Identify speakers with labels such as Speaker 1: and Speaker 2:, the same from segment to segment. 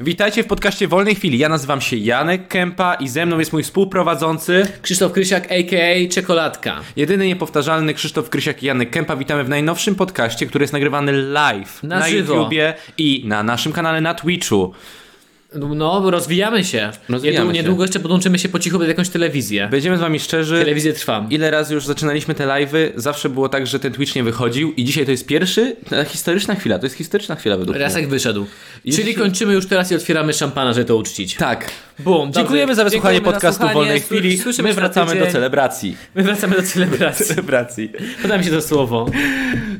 Speaker 1: Witajcie w podcaście Wolnej Chwili. Ja nazywam się Janek Kępa i ze mną jest mój współprowadzący,
Speaker 2: Krzysztof Krysiak, a.k.a. Czekoladka.
Speaker 1: jedyny niepowtarzalny Krzysztof Krysiak i Janek Kępa. Witamy w najnowszym podcaście, który jest nagrywany live
Speaker 2: Na
Speaker 1: na
Speaker 2: żywo.
Speaker 1: YouTubie i na naszym kanale na Twitchu.
Speaker 2: No, rozwijamy się.
Speaker 1: Rozwijamy
Speaker 2: niedługo,
Speaker 1: się.
Speaker 2: niedługo jeszcze podłączymy się po cichu pod jakąś telewizję.
Speaker 1: Będziemy z wami szczerzy.
Speaker 2: Telewizję trwam.
Speaker 1: Ile razy już zaczynaliśmy te live'y, zawsze było tak, że ten Twitch nie wychodził i dzisiaj to jest pierwszy, ta historyczna chwila, to jest historyczna chwila według mnie.
Speaker 2: Raz jak wyszedł. Czyli kończymy już teraz i otwieramy szampana, żeby to uczcić.
Speaker 1: Tak.
Speaker 2: Bum,
Speaker 1: Dziękujemy za wysłuchanie
Speaker 2: Dziękujemy za
Speaker 1: podcastu
Speaker 2: słuchanie.
Speaker 1: Wolnej
Speaker 2: Sły-
Speaker 1: Chwili.
Speaker 2: Słyszymy
Speaker 1: My
Speaker 2: się za
Speaker 1: wracamy do
Speaker 2: tydzień.
Speaker 1: celebracji.
Speaker 2: My wracamy do celebracji.
Speaker 1: Celebracji.
Speaker 2: Poda mi się to słowo.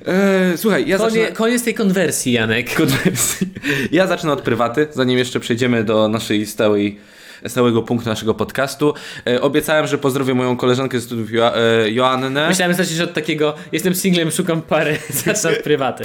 Speaker 1: Eee, słuchaj, ja zaczynam...
Speaker 2: Konie, koniec tej konwersji, Janek.
Speaker 1: kontrowersji. Ja zacznę od prywaty, zanim jeszcze przejdziemy do naszej stałej stałego punktu naszego podcastu. E, obiecałem, że pozdrowię moją koleżankę z studiów jo- e, Joannę.
Speaker 2: Myślałem zacząć od takiego, jestem singlem, szukam pary, zacznę od prywaty.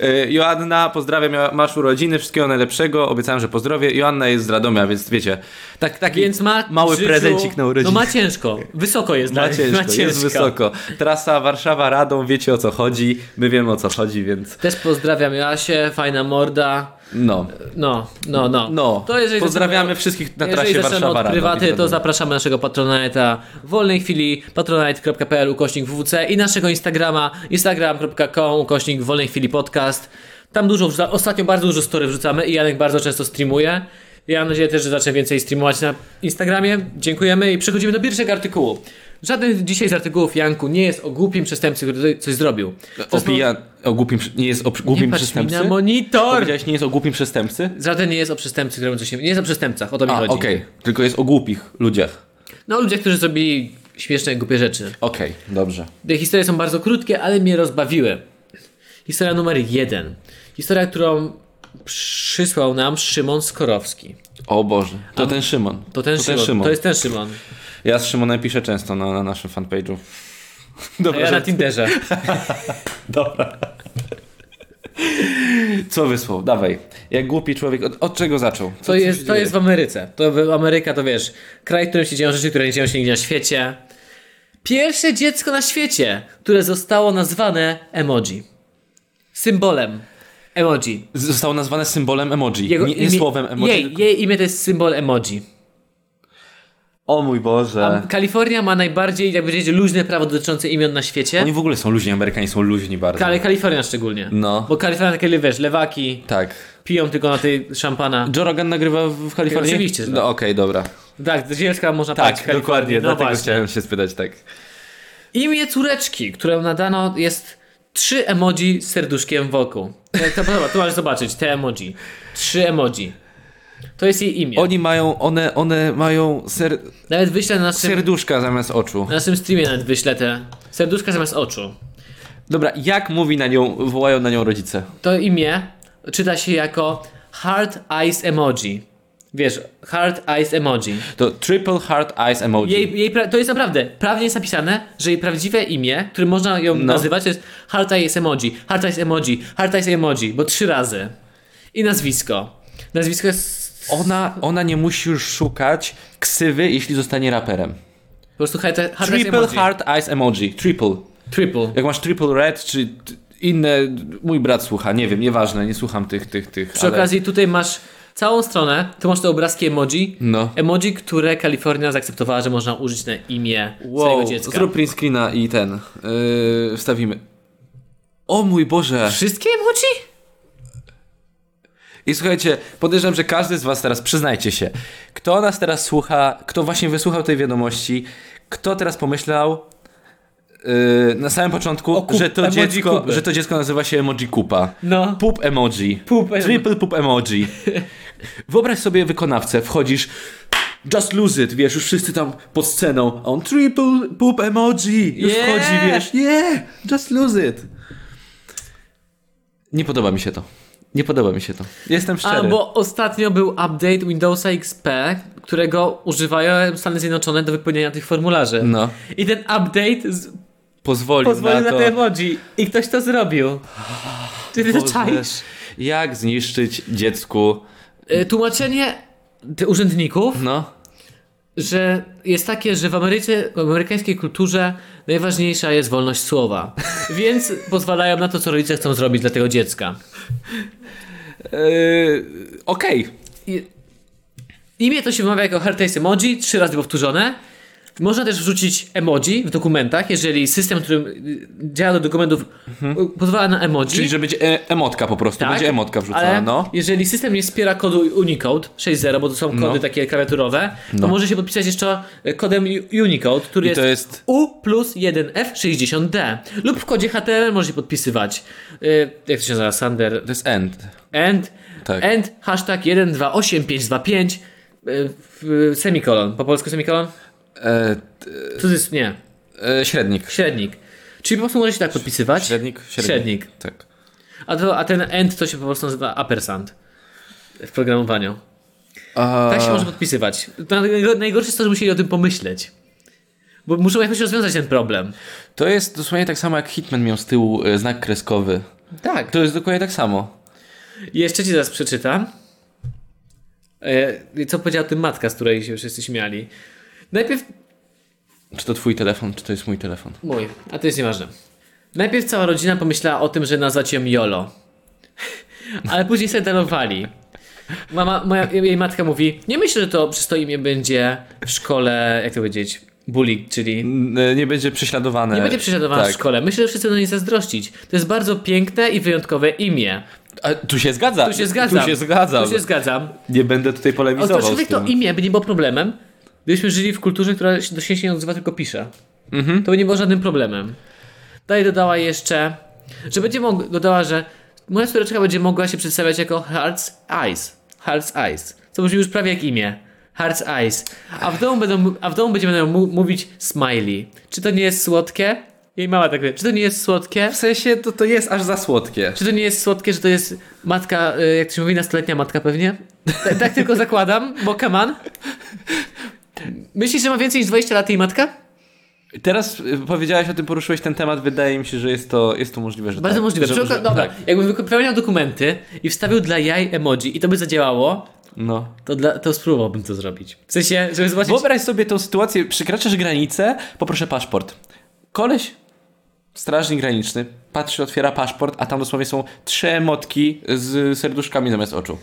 Speaker 1: E, Joanna, pozdrawiam, ja- masz urodziny, wszystkiego najlepszego. Obiecałem, że pozdrowię. Joanna jest z Radomia, więc wiecie, tak, taki
Speaker 2: Więc ma
Speaker 1: mały
Speaker 2: w życiu,
Speaker 1: prezencik na urodziny.
Speaker 2: No ma ciężko, wysoko jest
Speaker 1: Ma
Speaker 2: dla
Speaker 1: ciężko, jest wysoko. Trasa Warszawa-Radom, wiecie o co chodzi. My wiemy o co chodzi, więc
Speaker 2: Też pozdrawiam Jasię, fajna morda.
Speaker 1: no.
Speaker 2: No, no, no.
Speaker 1: No,
Speaker 2: to jeżeli
Speaker 1: pozdrawiamy
Speaker 2: zaczynamy-
Speaker 1: wszystkich na
Speaker 2: jeżeli
Speaker 1: trasie
Speaker 2: zaczynamy
Speaker 1: Warszawa-Radom,
Speaker 2: od
Speaker 1: widzę,
Speaker 2: prywaty,
Speaker 1: no.
Speaker 2: to zapraszamy naszego Patronite'a w wolnej chwili patronite.pl ukośnik wwc i naszego Instagrama instagram.com ukośnik w wolnej chwili podcast. Tam dużo, wrzuca- ostatnio bardzo dużo story wrzucamy i Janek bardzo często streamuje. Ja mam nadzieję też, że zacznę więcej streamować na Instagramie. Dziękujemy i przechodzimy do pierwszego artykułu. Żaden dzisiaj z artykułów Janku nie jest o głupim przestępcy, który coś zrobił. To jest- no-
Speaker 1: Opija o głupim, przy- nie jest o przy-
Speaker 2: Nie
Speaker 1: głupim
Speaker 2: patrz mi
Speaker 1: przestępcy?
Speaker 2: na monitor!
Speaker 1: Powiedziałeś, nie jest o głupim przestępcy?
Speaker 2: Żaden nie jest o przestępcy, któremu coś się... Nie jest o przestępcach, o to mi
Speaker 1: A,
Speaker 2: chodzi.
Speaker 1: okej, tylko jest o głupich ludziach.
Speaker 2: No ludzie, którzy zrobili śmieszne, głupie rzeczy.
Speaker 1: Okej, dobrze.
Speaker 2: Te historie są bardzo krótkie, ale mnie rozbawiły. Historia numer jeden. Historia, którą przysłał nam Szymon Skorowski.
Speaker 1: O Boże, to ten Szymon.
Speaker 2: To ten, Szymon. To jest ten Szymon.
Speaker 1: Ja z Szymonem piszę często na, na naszym fanpage'u.
Speaker 2: A
Speaker 1: Dobra,
Speaker 2: ja na
Speaker 1: że...
Speaker 2: Tinderze.
Speaker 1: Dobra. Co wysłał? Dawaj. Jak głupi człowiek, od, od czego zaczął? Co,
Speaker 2: To
Speaker 1: co
Speaker 2: jest,
Speaker 1: się
Speaker 2: to
Speaker 1: dzieje?
Speaker 2: jest w Ameryce. To w- Ameryka to wiesz, kraj, w którym się dzieją rzeczy, które nie dzieją się nigdzie na świecie. Pierwsze dziecko na świecie, które zostało nazwane emoji. Symbolem emoji.
Speaker 1: Zostało nazwane symbolem emoji, nie, nie
Speaker 2: imię-
Speaker 1: słowem emoji.
Speaker 2: Jej,
Speaker 1: tylko-
Speaker 2: jej imię to jest symbol emoji.
Speaker 1: O mój Boże.
Speaker 2: Kalifornia ma najbardziej, jak powiedzieć, luźne prawo dotyczące imion na świecie.
Speaker 1: Oni w ogóle są luźni, Amerykanie są luźni bardzo.
Speaker 2: Ale Kalifornia szczególnie.
Speaker 1: No.
Speaker 2: Bo Kalifornia takie, wiesz, lewaki,
Speaker 1: Tak.
Speaker 2: piją tylko na tej szampana.
Speaker 1: Joe Rogan nagrywa w w Kalifornii?
Speaker 2: Oczywiście, że
Speaker 1: No okej, dobra.
Speaker 2: Tak, do Zielska można palić w
Speaker 1: Tak,
Speaker 2: Kalifornii.
Speaker 1: dokładnie,
Speaker 2: no
Speaker 1: dlatego
Speaker 2: właśnie.
Speaker 1: chciałem się spytać, tak.
Speaker 2: Imię córeczki, którą nadano jest trzy emoji z serduszkiem wokół. E, To, to, tu masz zobaczyć, te emoji. Trzy emoji. To jest jej imię.
Speaker 1: Oni mają, one, one mają ser,
Speaker 2: Nawet wyślę na naszym,
Speaker 1: serduszka zamiast oczu.
Speaker 2: na naszym streamie nawet wyślę te serduszka zamiast oczu.
Speaker 1: Dobra, jak mówi na nią, wołają na nią rodzice?
Speaker 2: To imię czyta się jako Hard Eyes Emoji. Wiesz, Hard Eyes Emoji.
Speaker 1: To triple heart eyes emoji.
Speaker 2: Jej, jej pra- to jest naprawdę, prawnie jest napisane, że jej prawdziwe imię, które można ją
Speaker 1: No.
Speaker 2: nazywać, to jest Hard Eyes Emoji, Hard Eyes Emoji, Hard Eyes Emoji, bo trzy razy. I nazwisko. Nazwisko jest
Speaker 1: Ona, ona nie musi już szukać ksywy, jeśli zostanie raperem.
Speaker 2: po prostu Hard, hard Eyes
Speaker 1: Triple
Speaker 2: Emoji.
Speaker 1: heart eyes emoji. Triple.
Speaker 2: Triple.
Speaker 1: Jak masz triple red, czy t- inne... Mój brat słucha, nie wiem, nieważne, nie słucham tych, tych, tych.
Speaker 2: Przy okazji tutaj masz całą stronę, tu masz te obrazki emoji.
Speaker 1: No.
Speaker 2: Emoji, które Kalifornia zaakceptowała, że można użyć na imię
Speaker 1: Wow,
Speaker 2: swojego dziecka.
Speaker 1: zrób print screena i ten. Yy, wstawimy. O mój Boże!
Speaker 2: Wszystkie emoji?
Speaker 1: I słuchajcie, podejrzewam, że każdy z was teraz, przyznajcie się, kto nas teraz słucha, kto właśnie wysłuchał tej wiadomości, kto teraz pomyślał yy, na samym początku,
Speaker 2: kup-
Speaker 1: że, to
Speaker 2: emoji
Speaker 1: dziecko,
Speaker 2: kupy.
Speaker 1: że to dziecko nazywa się emoji kupa.
Speaker 2: No.
Speaker 1: Poop emoji.
Speaker 2: Poop em-
Speaker 1: Triple poop emoji. Wyobraź sobie wykonawcę, wchodzisz, just lose it, wiesz, już wszyscy tam pod sceną, a on triple poop emoji. Już
Speaker 2: Yeah.
Speaker 1: wchodzi, wiesz, yeah, just lose it. Nie podoba mi się to. Nie podoba mi się to. Jestem szczery.
Speaker 2: A, bo ostatnio był update Windowsa XP, którego używają Stany Zjednoczone do wypełniania tych formularzy.
Speaker 1: No.
Speaker 2: I ten update z...
Speaker 1: Pozwolił
Speaker 2: pozwolił
Speaker 1: na
Speaker 2: na,
Speaker 1: to.
Speaker 2: te emoji. I ktoś to zrobił. Ty to
Speaker 1: Boże,
Speaker 2: czaisz?
Speaker 1: Jak zniszczyć dziecku?
Speaker 2: Y, Tłumaczenie ty- urzędników,
Speaker 1: No.
Speaker 2: że jest takie, że w, Ameryce, w amerykańskiej kulturze najważniejsza jest wolność słowa. Więc pozwalają na to, co rodzice chcą zrobić dla tego dziecka.
Speaker 1: Yy, Okej.
Speaker 2: I- Imię to się wymawia jako Hardtaste Emoji, trzy razy powtórzone. Można też wrzucić emoji w dokumentach, jeżeli system, który y, działa do dokumentów, y, pozwala na emoji.
Speaker 1: Mhm.
Speaker 2: Tak,
Speaker 1: Czyli, że będzie e- emotka po prostu, będzie emotka wrzucona,
Speaker 2: ale
Speaker 1: no.
Speaker 2: jeżeli system nie wspiera kodu Unicode 6.0, bo to są kody
Speaker 1: No.
Speaker 2: takie klawiaturowe,
Speaker 1: No.
Speaker 2: to może się podpisać jeszcze y, kodem U- Unicode, który
Speaker 1: I
Speaker 2: jest,
Speaker 1: to jest-
Speaker 2: U plus 1F60D. Lub w kodzie HTML może się podpisywać. Y, Jak to się nazywa? Sander...
Speaker 1: To jest end.
Speaker 2: End,
Speaker 1: Tak.
Speaker 2: end, hashtag 128525, y, w- semikolon. Po polsku semikolon?
Speaker 1: E,
Speaker 2: Cudzysł, nie,
Speaker 1: e, średnik.
Speaker 2: średnik. Czyli po prostu może się tak podpisywać.
Speaker 1: Średnik?
Speaker 2: Średnik.
Speaker 1: Tak.
Speaker 2: A, to, a ten end to się po prostu nazywa uppersand w programowaniu.
Speaker 1: A,
Speaker 2: Tak się może podpisywać. To najgo- Najgorsze jest to, że musieli o tym pomyśleć. Bo muszą jakoś rozwiązać ten problem.
Speaker 1: To jest dosłownie tak samo jak Hitman miał z tyłu e, znak kreskowy.
Speaker 2: Tak.
Speaker 1: To jest dokładnie tak samo.
Speaker 2: Jeszcze ci zaraz przeczytam. E, Co powiedziała o tym matka, z której się wszyscy śmiali. Najpierw
Speaker 1: Czy to twój telefon, czy to jest mój telefon?
Speaker 2: Mój, a to jest nieważne. Najpierw cała rodzina pomyślała o tym, że nazwać ją Jolo. Ale później sobie darowali. Mama, moja, jej matka mówi, nie myślę, że to przez to imię będzie w szkole, jak to powiedzieć, bully, czyli
Speaker 1: N- e, Nie będzie prześladowane. Tak.
Speaker 2: nie będzie prześladowana w szkole. Myślę, że wszyscy będą jej zazdrościć. To jest bardzo piękne i wyjątkowe imię.
Speaker 1: A, tu się zgadza.
Speaker 2: Tu się zgadzam.
Speaker 1: Tu się zgadzam.
Speaker 2: Tu się zgadzam.
Speaker 1: Nie będę tutaj polemizował z
Speaker 2: Otocznik to
Speaker 1: tym.
Speaker 2: imię by nie było problemem, gdybyśmy żyli w kulturze, która się do siebie nie odzywa, tylko pisze.
Speaker 1: Mhm.
Speaker 2: To by nie było żadnym problemem. Dalej dodała jeszcze, że będzie mogła, dodała, że moja córeczka będzie mogła się przedstawiać jako Hearts Eyes. Hearts Eyes. Co brzmi już prawie jak imię. Hearts Eyes. A w domu, będą, a w domu będziemy będą mu- mówić Smiley. Czy to nie jest słodkie? Jej mama tak wie. Czy to nie jest słodkie?
Speaker 1: W sensie to, to jest aż za słodkie.
Speaker 2: Czy to nie jest słodkie, że to jest matka, y, jak to się mówi, nastoletnia matka pewnie? Ta- tak tylko zakładam, bo come on. Myślisz, że ma więcej niż 20 lat jej matka?
Speaker 1: Teraz y, powiedziałeś o tym, poruszyłeś ten temat. Wydaje mi się, że jest to, jest to możliwe, że
Speaker 2: Bardzo
Speaker 1: tak.
Speaker 2: możliwe.
Speaker 1: Że,
Speaker 2: Przy
Speaker 1: że-
Speaker 2: okazji, dobra,
Speaker 1: Tak.
Speaker 2: jakbym wypełniał dokumenty i wstawił dla jaj emoji i to by zadziałało,
Speaker 1: No.
Speaker 2: to, dla, to spróbowałbym to zrobić. W sensie, żeby zobaczyć...
Speaker 1: Wyobraź sobie tą sytuację, przekraczasz granicę, poproszę paszport. Koleś, strażnik graniczny, patrzy, otwiera paszport, a tam dosłownie są trzy emotki z serduszkami zamiast oczu.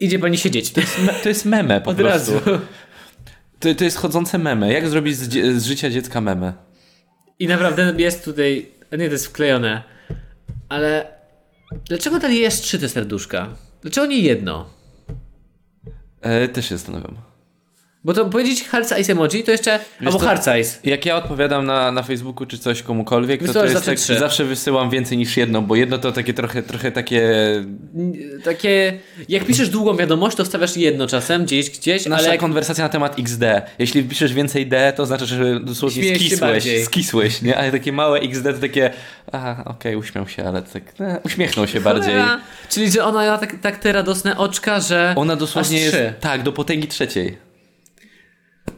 Speaker 2: Idzie pani siedzieć.
Speaker 1: To jest, me, to jest meme po
Speaker 2: Od
Speaker 1: prostu.
Speaker 2: razu.
Speaker 1: To, to jest chodzące meme. Jak zrobić z, dzie- z życia dziecka meme?
Speaker 2: I naprawdę jest tutaj... a Nie, to jest wklejone. Ale... Dlaczego ten jest trzy te serduszka? Dlaczego nie jedno?
Speaker 1: E, też się zastanawiam.
Speaker 2: Bo to powiedzieć Hearts Eyes emoji to jeszcze...
Speaker 1: co-
Speaker 2: albo Hearts Eyes.
Speaker 1: Jak ja odpowiadam na, na Facebooku czy coś komukolwiek, to, to
Speaker 2: Wysyłasz
Speaker 1: jest
Speaker 2: zawsze
Speaker 1: tak,
Speaker 2: trzy.
Speaker 1: zawsze wysyłam więcej niż jedno, bo jedno to takie trochę, trochę takie...
Speaker 2: takie. Jak piszesz długą wiadomość, to wstawiasz jedno czasem gdzieś, gdzieś,
Speaker 1: Nasza
Speaker 2: ale jak
Speaker 1: konwersacja na temat XD. Jeśli piszesz więcej D, to znaczy, że dosłownie
Speaker 2: Śmiejesz się
Speaker 1: skisłeś,
Speaker 2: bardziej.
Speaker 1: skisłeś, nie? Ale takie małe XD to takie, aha, okej, uśmiał się, ale tak, ne, uśmiechnął się bardziej.
Speaker 2: Cholera. Czyli, że ona ma tak, tak te radosne oczka, że.
Speaker 1: Ona dosłownie
Speaker 2: aż
Speaker 1: jest,
Speaker 2: trzy.
Speaker 1: tak, do potęgi trzeciej.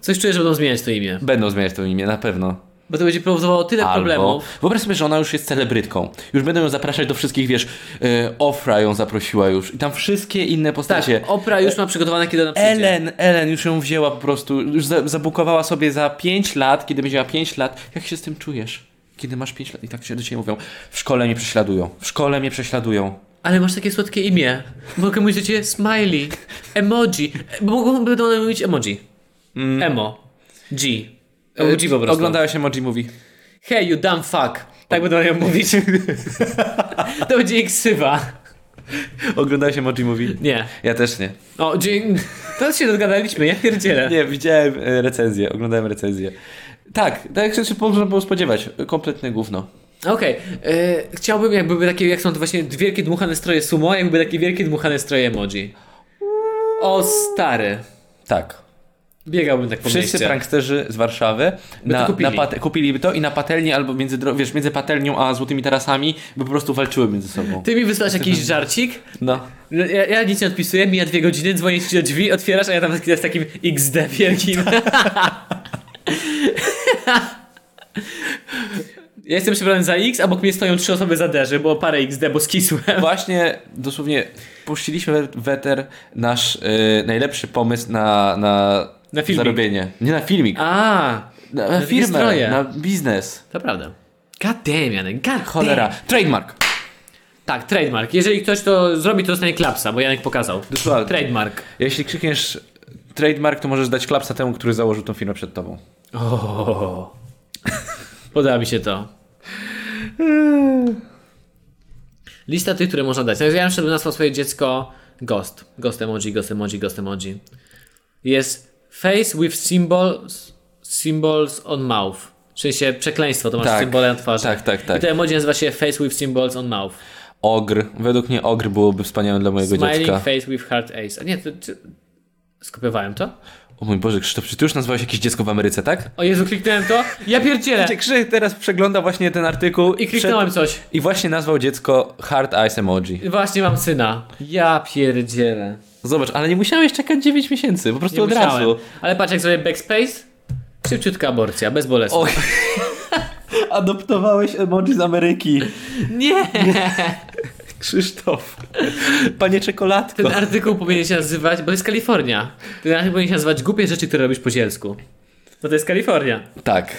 Speaker 2: Coś czuję, że będą zmieniać to imię.
Speaker 1: Będą zmieniać to imię, na pewno.
Speaker 2: Bo to będzie powodowało tyle problemów.
Speaker 1: Wyobraź sobie, że ona już jest celebrytką. Już będą ją zapraszać do wszystkich, wiesz, yy, Ofra ją zaprosiła już i tam wszystkie inne
Speaker 2: Tak,
Speaker 1: postacie.
Speaker 2: Opra już ma przygotowane, kiedy ona przyjdzie.
Speaker 1: Ellen, Ellen już ją wzięła po prostu, już za, zabukowała sobie za 5 lat, kiedy będzie miała 5 lat. Jak się z tym czujesz? Kiedy masz 5 lat i tak się do ciebie mówią, w szkole mnie prześladują, w szkole mnie prześladują.
Speaker 2: Ale masz takie słodkie imię. Mogę mówić do ciebie smiley, emoji. E, bo Mogą będą one mówić emoji.
Speaker 1: Mm.
Speaker 2: Emo. G.
Speaker 1: E,
Speaker 2: Emoji po prostu.
Speaker 1: Oglądałeś Emoji Movie.
Speaker 2: Hey, you dumb fuck. Tak będą ją mówić. to będzie ich ksywa.
Speaker 1: Oglądałeś Emoji Movie?
Speaker 2: Nie.
Speaker 1: Ja też nie.
Speaker 2: O, dzień. Teraz się dogadaliśmy, ja pierdzielę.
Speaker 1: Nie, widziałem e, recenzję, oglądałem recenzję. Tak, tak jak się można było spodziewać. Kompletne gówno.
Speaker 2: Okej, e, chciałbym jakby były takie, jak są to właśnie wielkie dmuchane stroje sumo, jakby były takie wielkie dmuchane stroje emoji. O stary.
Speaker 1: Tak.
Speaker 2: Biegałbym tak po
Speaker 1: Wszyscy
Speaker 2: mieście.
Speaker 1: pranksterzy z Warszawy
Speaker 2: By to
Speaker 1: na,
Speaker 2: kupili.
Speaker 1: Na pate- kupiliby to i na patelni albo między, dro- wiesz, między patelnią a złotymi tarasami by po prostu walczyły między sobą.
Speaker 2: Ty mi wysłałeś jakiś żarcik,
Speaker 1: No.
Speaker 2: ja, ja nic nie odpisuję, mija dwie godziny, dzwonię ci do drzwi, otwierasz, a ja tam z takim XD wielkim. ja jestem przebrany za X, a obok mnie stoją trzy osoby za derze, bo parę XD, bo skisłem.
Speaker 1: Właśnie dosłownie puściliśmy we- weter nasz y, najlepszy pomysł na, na,
Speaker 2: Na filmik.
Speaker 1: zarobienie. Nie na filmik,
Speaker 2: A,
Speaker 1: na, na
Speaker 2: na
Speaker 1: firmę,
Speaker 2: stroje.
Speaker 1: na biznes.
Speaker 2: To prawda. God damn, Janek, god
Speaker 1: Cholera. Trademark.
Speaker 2: Tak, trademark. Jeżeli ktoś to zrobi, to dostanie klapsa, bo Janek pokazał.
Speaker 1: Dokładnie.
Speaker 2: Trademark.
Speaker 1: Jeśli krzykniesz trademark, to możesz dać klapsa temu, który założył tą firmę przed tobą.
Speaker 2: O, Podoba mi się to. Lista tych, które można dać. No, Ja na przykład bym nazwał swoje dziecko Ghost. Ghost emoji, ghost emoji, ghost emoji. Jest face with symbols, symbols on mouth. W sensie przekleństwo, to masz
Speaker 1: Tak.
Speaker 2: symbole na twarzy.
Speaker 1: Tak, tak, tak.
Speaker 2: I to emoji nazywa się face with symbols on mouth.
Speaker 1: Ogr. Według mnie ogr byłoby wspaniałym dla mojego
Speaker 2: Smiling
Speaker 1: dziecka.
Speaker 2: face with heart ace. A nie, to, czy... skopiowałem to?
Speaker 1: O mój Boże, Krzysztof, czy ty już nazwałeś jakieś dziecko w Ameryce, tak?
Speaker 2: O Jezu, kliknąłem to? Ja pierdzielę!
Speaker 1: Znaczy, Krzysztof teraz przegląda właśnie ten artykuł
Speaker 2: I kliknąłem coś.
Speaker 1: I właśnie nazwał dziecko Hard Eyes Emoji.
Speaker 2: Właśnie mam syna. Ja pierdzielę.
Speaker 1: Zobacz, ale nie musiałeś czekać 9 miesięcy, po prostu
Speaker 2: Nie
Speaker 1: od
Speaker 2: musiałem.
Speaker 1: razu.
Speaker 2: Ale patrz, jak zrobię backspace, szybciutka aborcja, bez bolesnej.
Speaker 1: Och. Adoptowałeś emoji z Ameryki.
Speaker 2: nie!
Speaker 1: Krzysztof. Panie czekoladko.
Speaker 2: Ten artykuł powinien się nazywać, bo to jest Kalifornia. Ten artykuł powinien się nazywać głupie rzeczy, które robisz po zielsku. Bo to jest Kalifornia.
Speaker 1: Tak.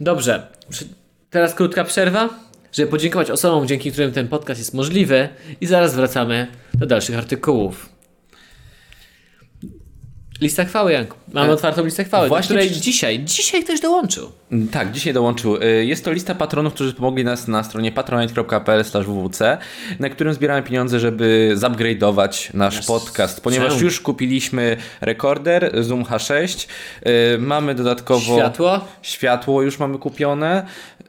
Speaker 2: Dobrze. Prze- Teraz krótka przerwa, żeby podziękować osobom, dzięki którym ten podcast jest możliwy i zaraz wracamy do dalszych artykułów. Lista chwały, Janku. Mamy
Speaker 1: E,
Speaker 2: otwartą listę chwały, do
Speaker 1: właśnie
Speaker 2: której
Speaker 1: przy-
Speaker 2: dzisiaj, dzisiaj ktoś dołączył.
Speaker 1: Tak, dzisiaj dołączył. Y, Jest to lista patronów, którzy pomogli nas na stronie patronite.pl/wwc, na którym zbieramy pieniądze, żeby zupgrade'ować nasz podcast, ponieważ
Speaker 2: sprzęt.
Speaker 1: już kupiliśmy rekorder Zoom H6, y, mamy dodatkowo
Speaker 2: Światło,
Speaker 1: światło już mamy kupione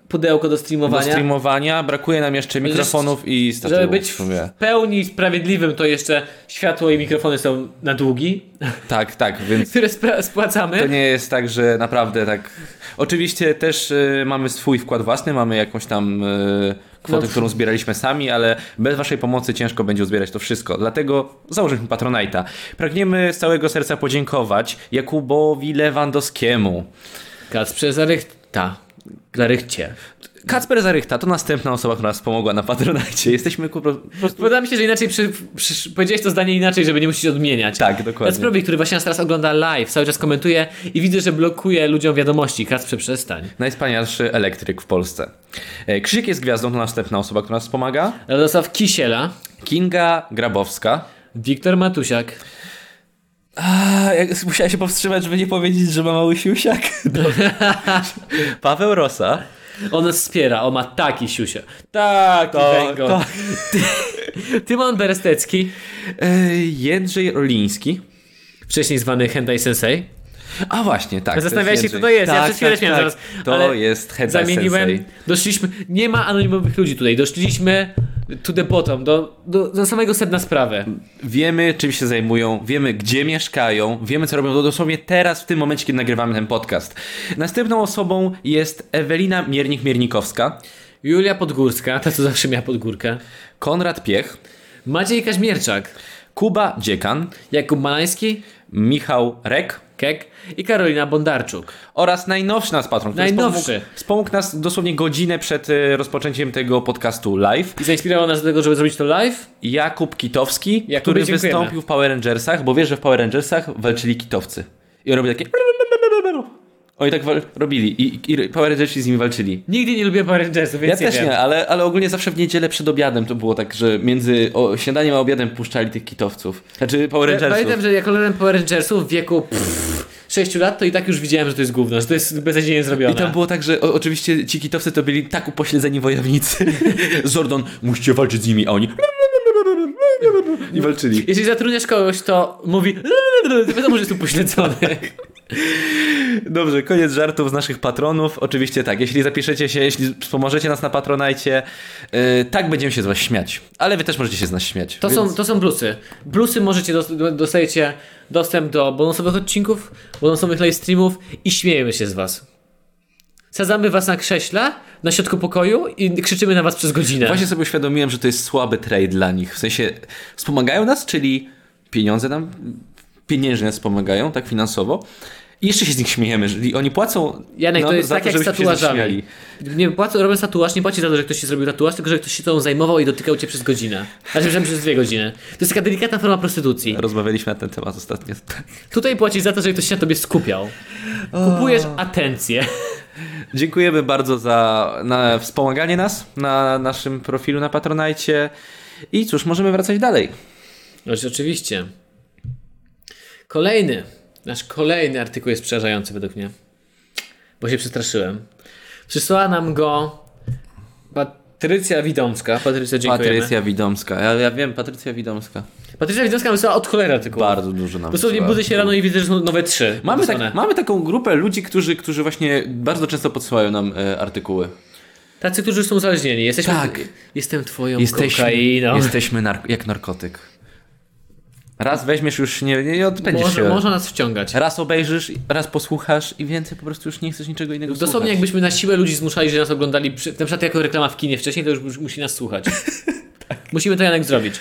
Speaker 2: pudełko do
Speaker 1: do
Speaker 2: streamowania.
Speaker 1: streamowania, brakuje nam jeszcze mikrofonów i statywów.
Speaker 2: Żeby być
Speaker 1: w
Speaker 2: w
Speaker 1: sumie.
Speaker 2: pełni sprawiedliwym, to jeszcze światło i mikrofony są na długi,
Speaker 1: Tak, tak, więc
Speaker 2: które spra-
Speaker 1: To
Speaker 2: spłacamy.
Speaker 1: nie jest tak, że naprawdę tak. Oczywiście też y, mamy swój wkład własny, mamy jakąś tam y, kwotę,
Speaker 2: No.
Speaker 1: którą zbieraliśmy sami, ale bez Waszej pomocy ciężko będzie uzbierać to wszystko. Dlatego założyliśmy Patronite'a. Pragniemy z całego serca podziękować Jakubowi Lewandowskiemu.
Speaker 2: Kacprze Zarychta. Zarychcie.
Speaker 1: Kacper Zarychta to następna osoba, która nas pomogła na Patronite. Jesteśmy ku po prostu.
Speaker 2: Podoba mi się, że inaczej przy, przy, powiedziałeś to zdanie inaczej, żeby nie musieć odmieniać.
Speaker 1: Tak, dokładnie.
Speaker 2: Kacprowi, który właśnie nas teraz ogląda live, cały czas komentuje i widzę, że blokuje ludziom wiadomości. Kacprze, przestań.
Speaker 1: Najwspanialszy elektryk w Polsce. E, Krzysiek jest gwiazdą, to następna osoba, która nas pomaga.
Speaker 2: Radosław Kisiela,
Speaker 1: Kinga Grabowska.
Speaker 2: Wiktor Matusiak,
Speaker 1: A, jak, musiałem się powstrzymać, żeby nie powiedzieć, że ma mały siusiak. Dobrze. Paweł Rosa.
Speaker 2: On nas wspiera, on ma taki siusia. Tak,
Speaker 1: To,
Speaker 2: węgorz.
Speaker 1: to,
Speaker 2: Tymon Berestecki,
Speaker 1: e, Jędrzej Orliński.
Speaker 2: wcześniej zwany Hentai Sensei.
Speaker 1: A właśnie, tak.
Speaker 2: Zastanawiałeś
Speaker 1: jest
Speaker 2: się, kto
Speaker 1: Jędrzej. Tak,
Speaker 2: to jest. Ja przez chwilę śmiałem zaraz,
Speaker 1: To
Speaker 2: ale
Speaker 1: jest Hentai
Speaker 2: Zamieniłem.
Speaker 1: Sensei.
Speaker 2: Doszliśmy. Nie ma anonimowych ludzi tutaj. Doszliśmy to the bottom, do, do, do samego sedna sprawy.
Speaker 1: Wiemy, czym się zajmują, wiemy, gdzie mieszkają, wiemy, co robią. To dosłownie teraz, w tym momencie, kiedy nagrywamy ten podcast. Następną osobą jest Ewelina Miernik-Miernikowska,
Speaker 2: Julia Podgórska, ta co zawsze miała podgórkę.
Speaker 1: Konrad Piech,
Speaker 2: Maciej Kaźmierczak,
Speaker 1: Kuba Dziekan,
Speaker 2: Jakub Malański,
Speaker 1: Michał Rek,
Speaker 2: Kek i Karolina Bondarczuk.
Speaker 1: oraz najnowszy nasz patron, który
Speaker 2: Najnowszy.
Speaker 1: Wspomógł, wspomógł nas dosłownie godzinę przed e, rozpoczęciem tego podcastu live.
Speaker 2: I zainspirowało nas do tego, żeby zrobić to live.
Speaker 1: Jakub Kitowski,
Speaker 2: Jakubie,
Speaker 1: który
Speaker 2: dziękujemy.
Speaker 1: wystąpił w Power Rangersach, bo wiesz, że w Power Rangersach walczyli kitowcy. I robił takie... Oni tak wal- robili i, i Power Rangersi z nimi walczyli.
Speaker 2: Nigdy nie lubię Power Rangersów,
Speaker 1: Ja
Speaker 2: więc nie
Speaker 1: też
Speaker 2: wiem.
Speaker 1: nie, ale, ale ogólnie zawsze w niedzielę przed obiadem to było tak, że między o, śniadaniem a obiadem puszczali tych kitowców. Znaczy Power
Speaker 2: Ja
Speaker 1: Rangersów.
Speaker 2: Pamiętam, że jak oglądałem Power Rangersów w wieku pff, 6 lat, to i tak już widziałem, że to jest gówno, że to jest beznadziejnie zrobione.
Speaker 1: I tam było tak, że o, oczywiście ci kitowcy to byli tak upośledzeni wojownicy. Zordon, musicie walczyć z nimi, a oni... I walczyli.
Speaker 2: Jeżeli zatrudniasz kogoś, to mówi to wiadomo, że jest upośledzony.
Speaker 1: Dobrze, koniec żartów z naszych patronów. Oczywiście tak, jeśli zapiszecie się, jeśli wspomożecie nas na Patronajcie, yy, tak będziemy się z was śmiać. Ale wy też możecie się z nas śmiać.
Speaker 2: To
Speaker 1: więc-
Speaker 2: są, to są plusy. Plusy możecie, dos- dostajecie dostęp do bonusowych odcinków, bonusowych live streamów i śmiejemy się z was. Sadzamy was na krześle, na środku pokoju i krzyczymy na was przez godzinę.
Speaker 1: Właśnie sobie uświadomiłem, że to jest słaby trade dla nich. W sensie wspomagają nas, czyli pieniądze nam, pieniężnie nas wspomagają, tak finansowo. I jeszcze się z nich śmiejemy, czyli oni płacą
Speaker 2: Janek,
Speaker 1: nam
Speaker 2: to jest
Speaker 1: No, za
Speaker 2: tak jak z
Speaker 1: żebyśmy się z nich śmiali.
Speaker 2: tatuażami. Nie płacą, robiąc tatuaż, nie płaci za to, że ktoś ci zrobił tatuaż, tylko że ktoś się tą zajmował i dotykał cię przez godzinę. Znaczy, myślałem, przez dwie godziny. To jest taka delikatna forma prostytucji.
Speaker 1: Rozmawialiśmy na ten temat ostatnio.
Speaker 2: Tutaj płacisz za to, że ktoś się na tobie skupiał. Kupujesz atencję.
Speaker 1: Dziękujemy bardzo za na wspomaganie nas na naszym profilu na Patronajcie. I cóż, możemy wracać dalej.
Speaker 2: No oczywiście. Kolejny, nasz kolejny artykuł jest przerażający według mnie, bo się przestraszyłem. Przysłała nam go Patrycja Widomska. Patrycja, dziękujemy.
Speaker 1: Patrycja Widomska. Ja, ja wiem, Patrycja Widomska.
Speaker 2: Patrycja Widomska wysłała od cholery artykuł.
Speaker 1: Bardzo dużo nam
Speaker 2: Dosłownie
Speaker 1: wysyła.
Speaker 2: budzę się rano i widzę, że są nowe trzy.
Speaker 1: Mamy,
Speaker 2: wysłane.
Speaker 1: tak, mamy taką grupę ludzi, którzy, którzy właśnie bardzo często podsyłają nam e, artykuły.
Speaker 2: Tacy, którzy są uzależnieni. Jesteśmy,
Speaker 1: Tak.
Speaker 2: Jestem twoją
Speaker 1: Jesteśmy,
Speaker 2: kokainą.
Speaker 1: jesteśmy nark- jak narkotyk. Raz weźmiesz, już nie, nie odpędzisz
Speaker 2: Może,
Speaker 1: się.
Speaker 2: można nas wciągać.
Speaker 1: Raz obejrzysz, raz posłuchasz i więcej po prostu już nie chcesz niczego innego
Speaker 2: Dosłownie
Speaker 1: słuchać.
Speaker 2: jakbyśmy na siłę ludzi zmuszali, że nas oglądali, przy, na przykład jako reklama w kinie wcześniej, to już mus- musi nas słuchać. Tak. Musimy to jednak zrobić.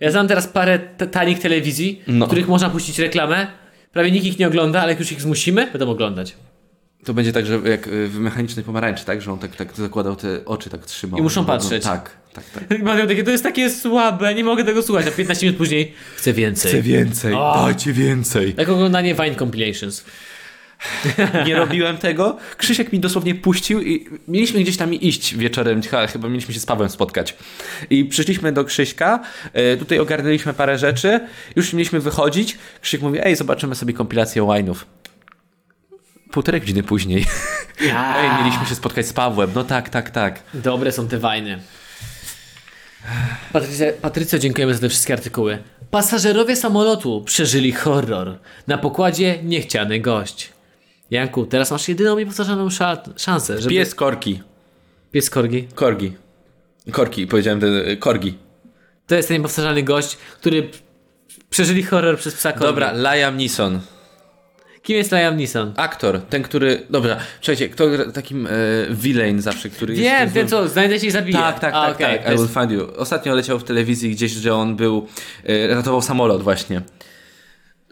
Speaker 2: Ja znam teraz parę t- tanich telewizji,
Speaker 1: No.
Speaker 2: w których można puścić reklamę. Prawie nikt ich nie ogląda, ale jak już ich zmusimy, będą oglądać.
Speaker 1: To będzie tak, że jak y, w mechanicznej pomarańczy, tak? Że on tak, tak zakładał te oczy, tak trzymał.
Speaker 2: I muszą
Speaker 1: No, no,
Speaker 2: patrzeć.
Speaker 1: Tak, tak, tak.
Speaker 2: Mają takie, to jest takie słabe, nie mogę tego słuchać, a 15 minut później chcę więcej.
Speaker 1: Chcę więcej, dajcie więcej.
Speaker 2: Jak oglądanie Vine Compilations.
Speaker 1: Nie robiłem tego. Krzysiek mi dosłownie puścił i mieliśmy gdzieś tam iść wieczorem, ch- chyba mieliśmy się z Pawłem spotkać. I przyszliśmy do Krzyśka, e, tutaj ogarnęliśmy parę rzeczy, już mieliśmy wychodzić. Krzysiek mówi, ej, zobaczymy sobie kompilację wine'ów. Półtorej godziny później. Ej, mieliśmy się spotkać z Pawłem. No tak, tak, tak.
Speaker 2: Dobre są te wajny. Patrycja, Patrycja, dziękujemy za te wszystkie artykuły. Pasażerowie samolotu przeżyli horror. Na pokładzie niechciany gość. Janku, teraz masz jedyną niepowtarzalną szat- szansę, żeby...
Speaker 1: Pies Korki.
Speaker 2: Pies Korgi.
Speaker 1: Korgi. Korki, powiedziałem ten, y, Korgi.
Speaker 2: To jest ten niepowtarzalny gość, który przeżyli horror przez psa Korgi.
Speaker 1: Dobra, Liam Neeson.
Speaker 2: Kim jest Liam Neeson?
Speaker 1: Aktor, ten, który... Dobra, słuchajcie, kto gra takim e, villain zawsze, który jest...
Speaker 2: Wiem, ten co, znajdę się i zabiję.
Speaker 1: Tak, tak,
Speaker 2: A,
Speaker 1: tak,
Speaker 2: okej,
Speaker 1: tak.
Speaker 2: to
Speaker 1: I will
Speaker 2: jest-
Speaker 1: find you. Ostatnio leciał w telewizji gdzieś, że on był, e, ratował samolot właśnie.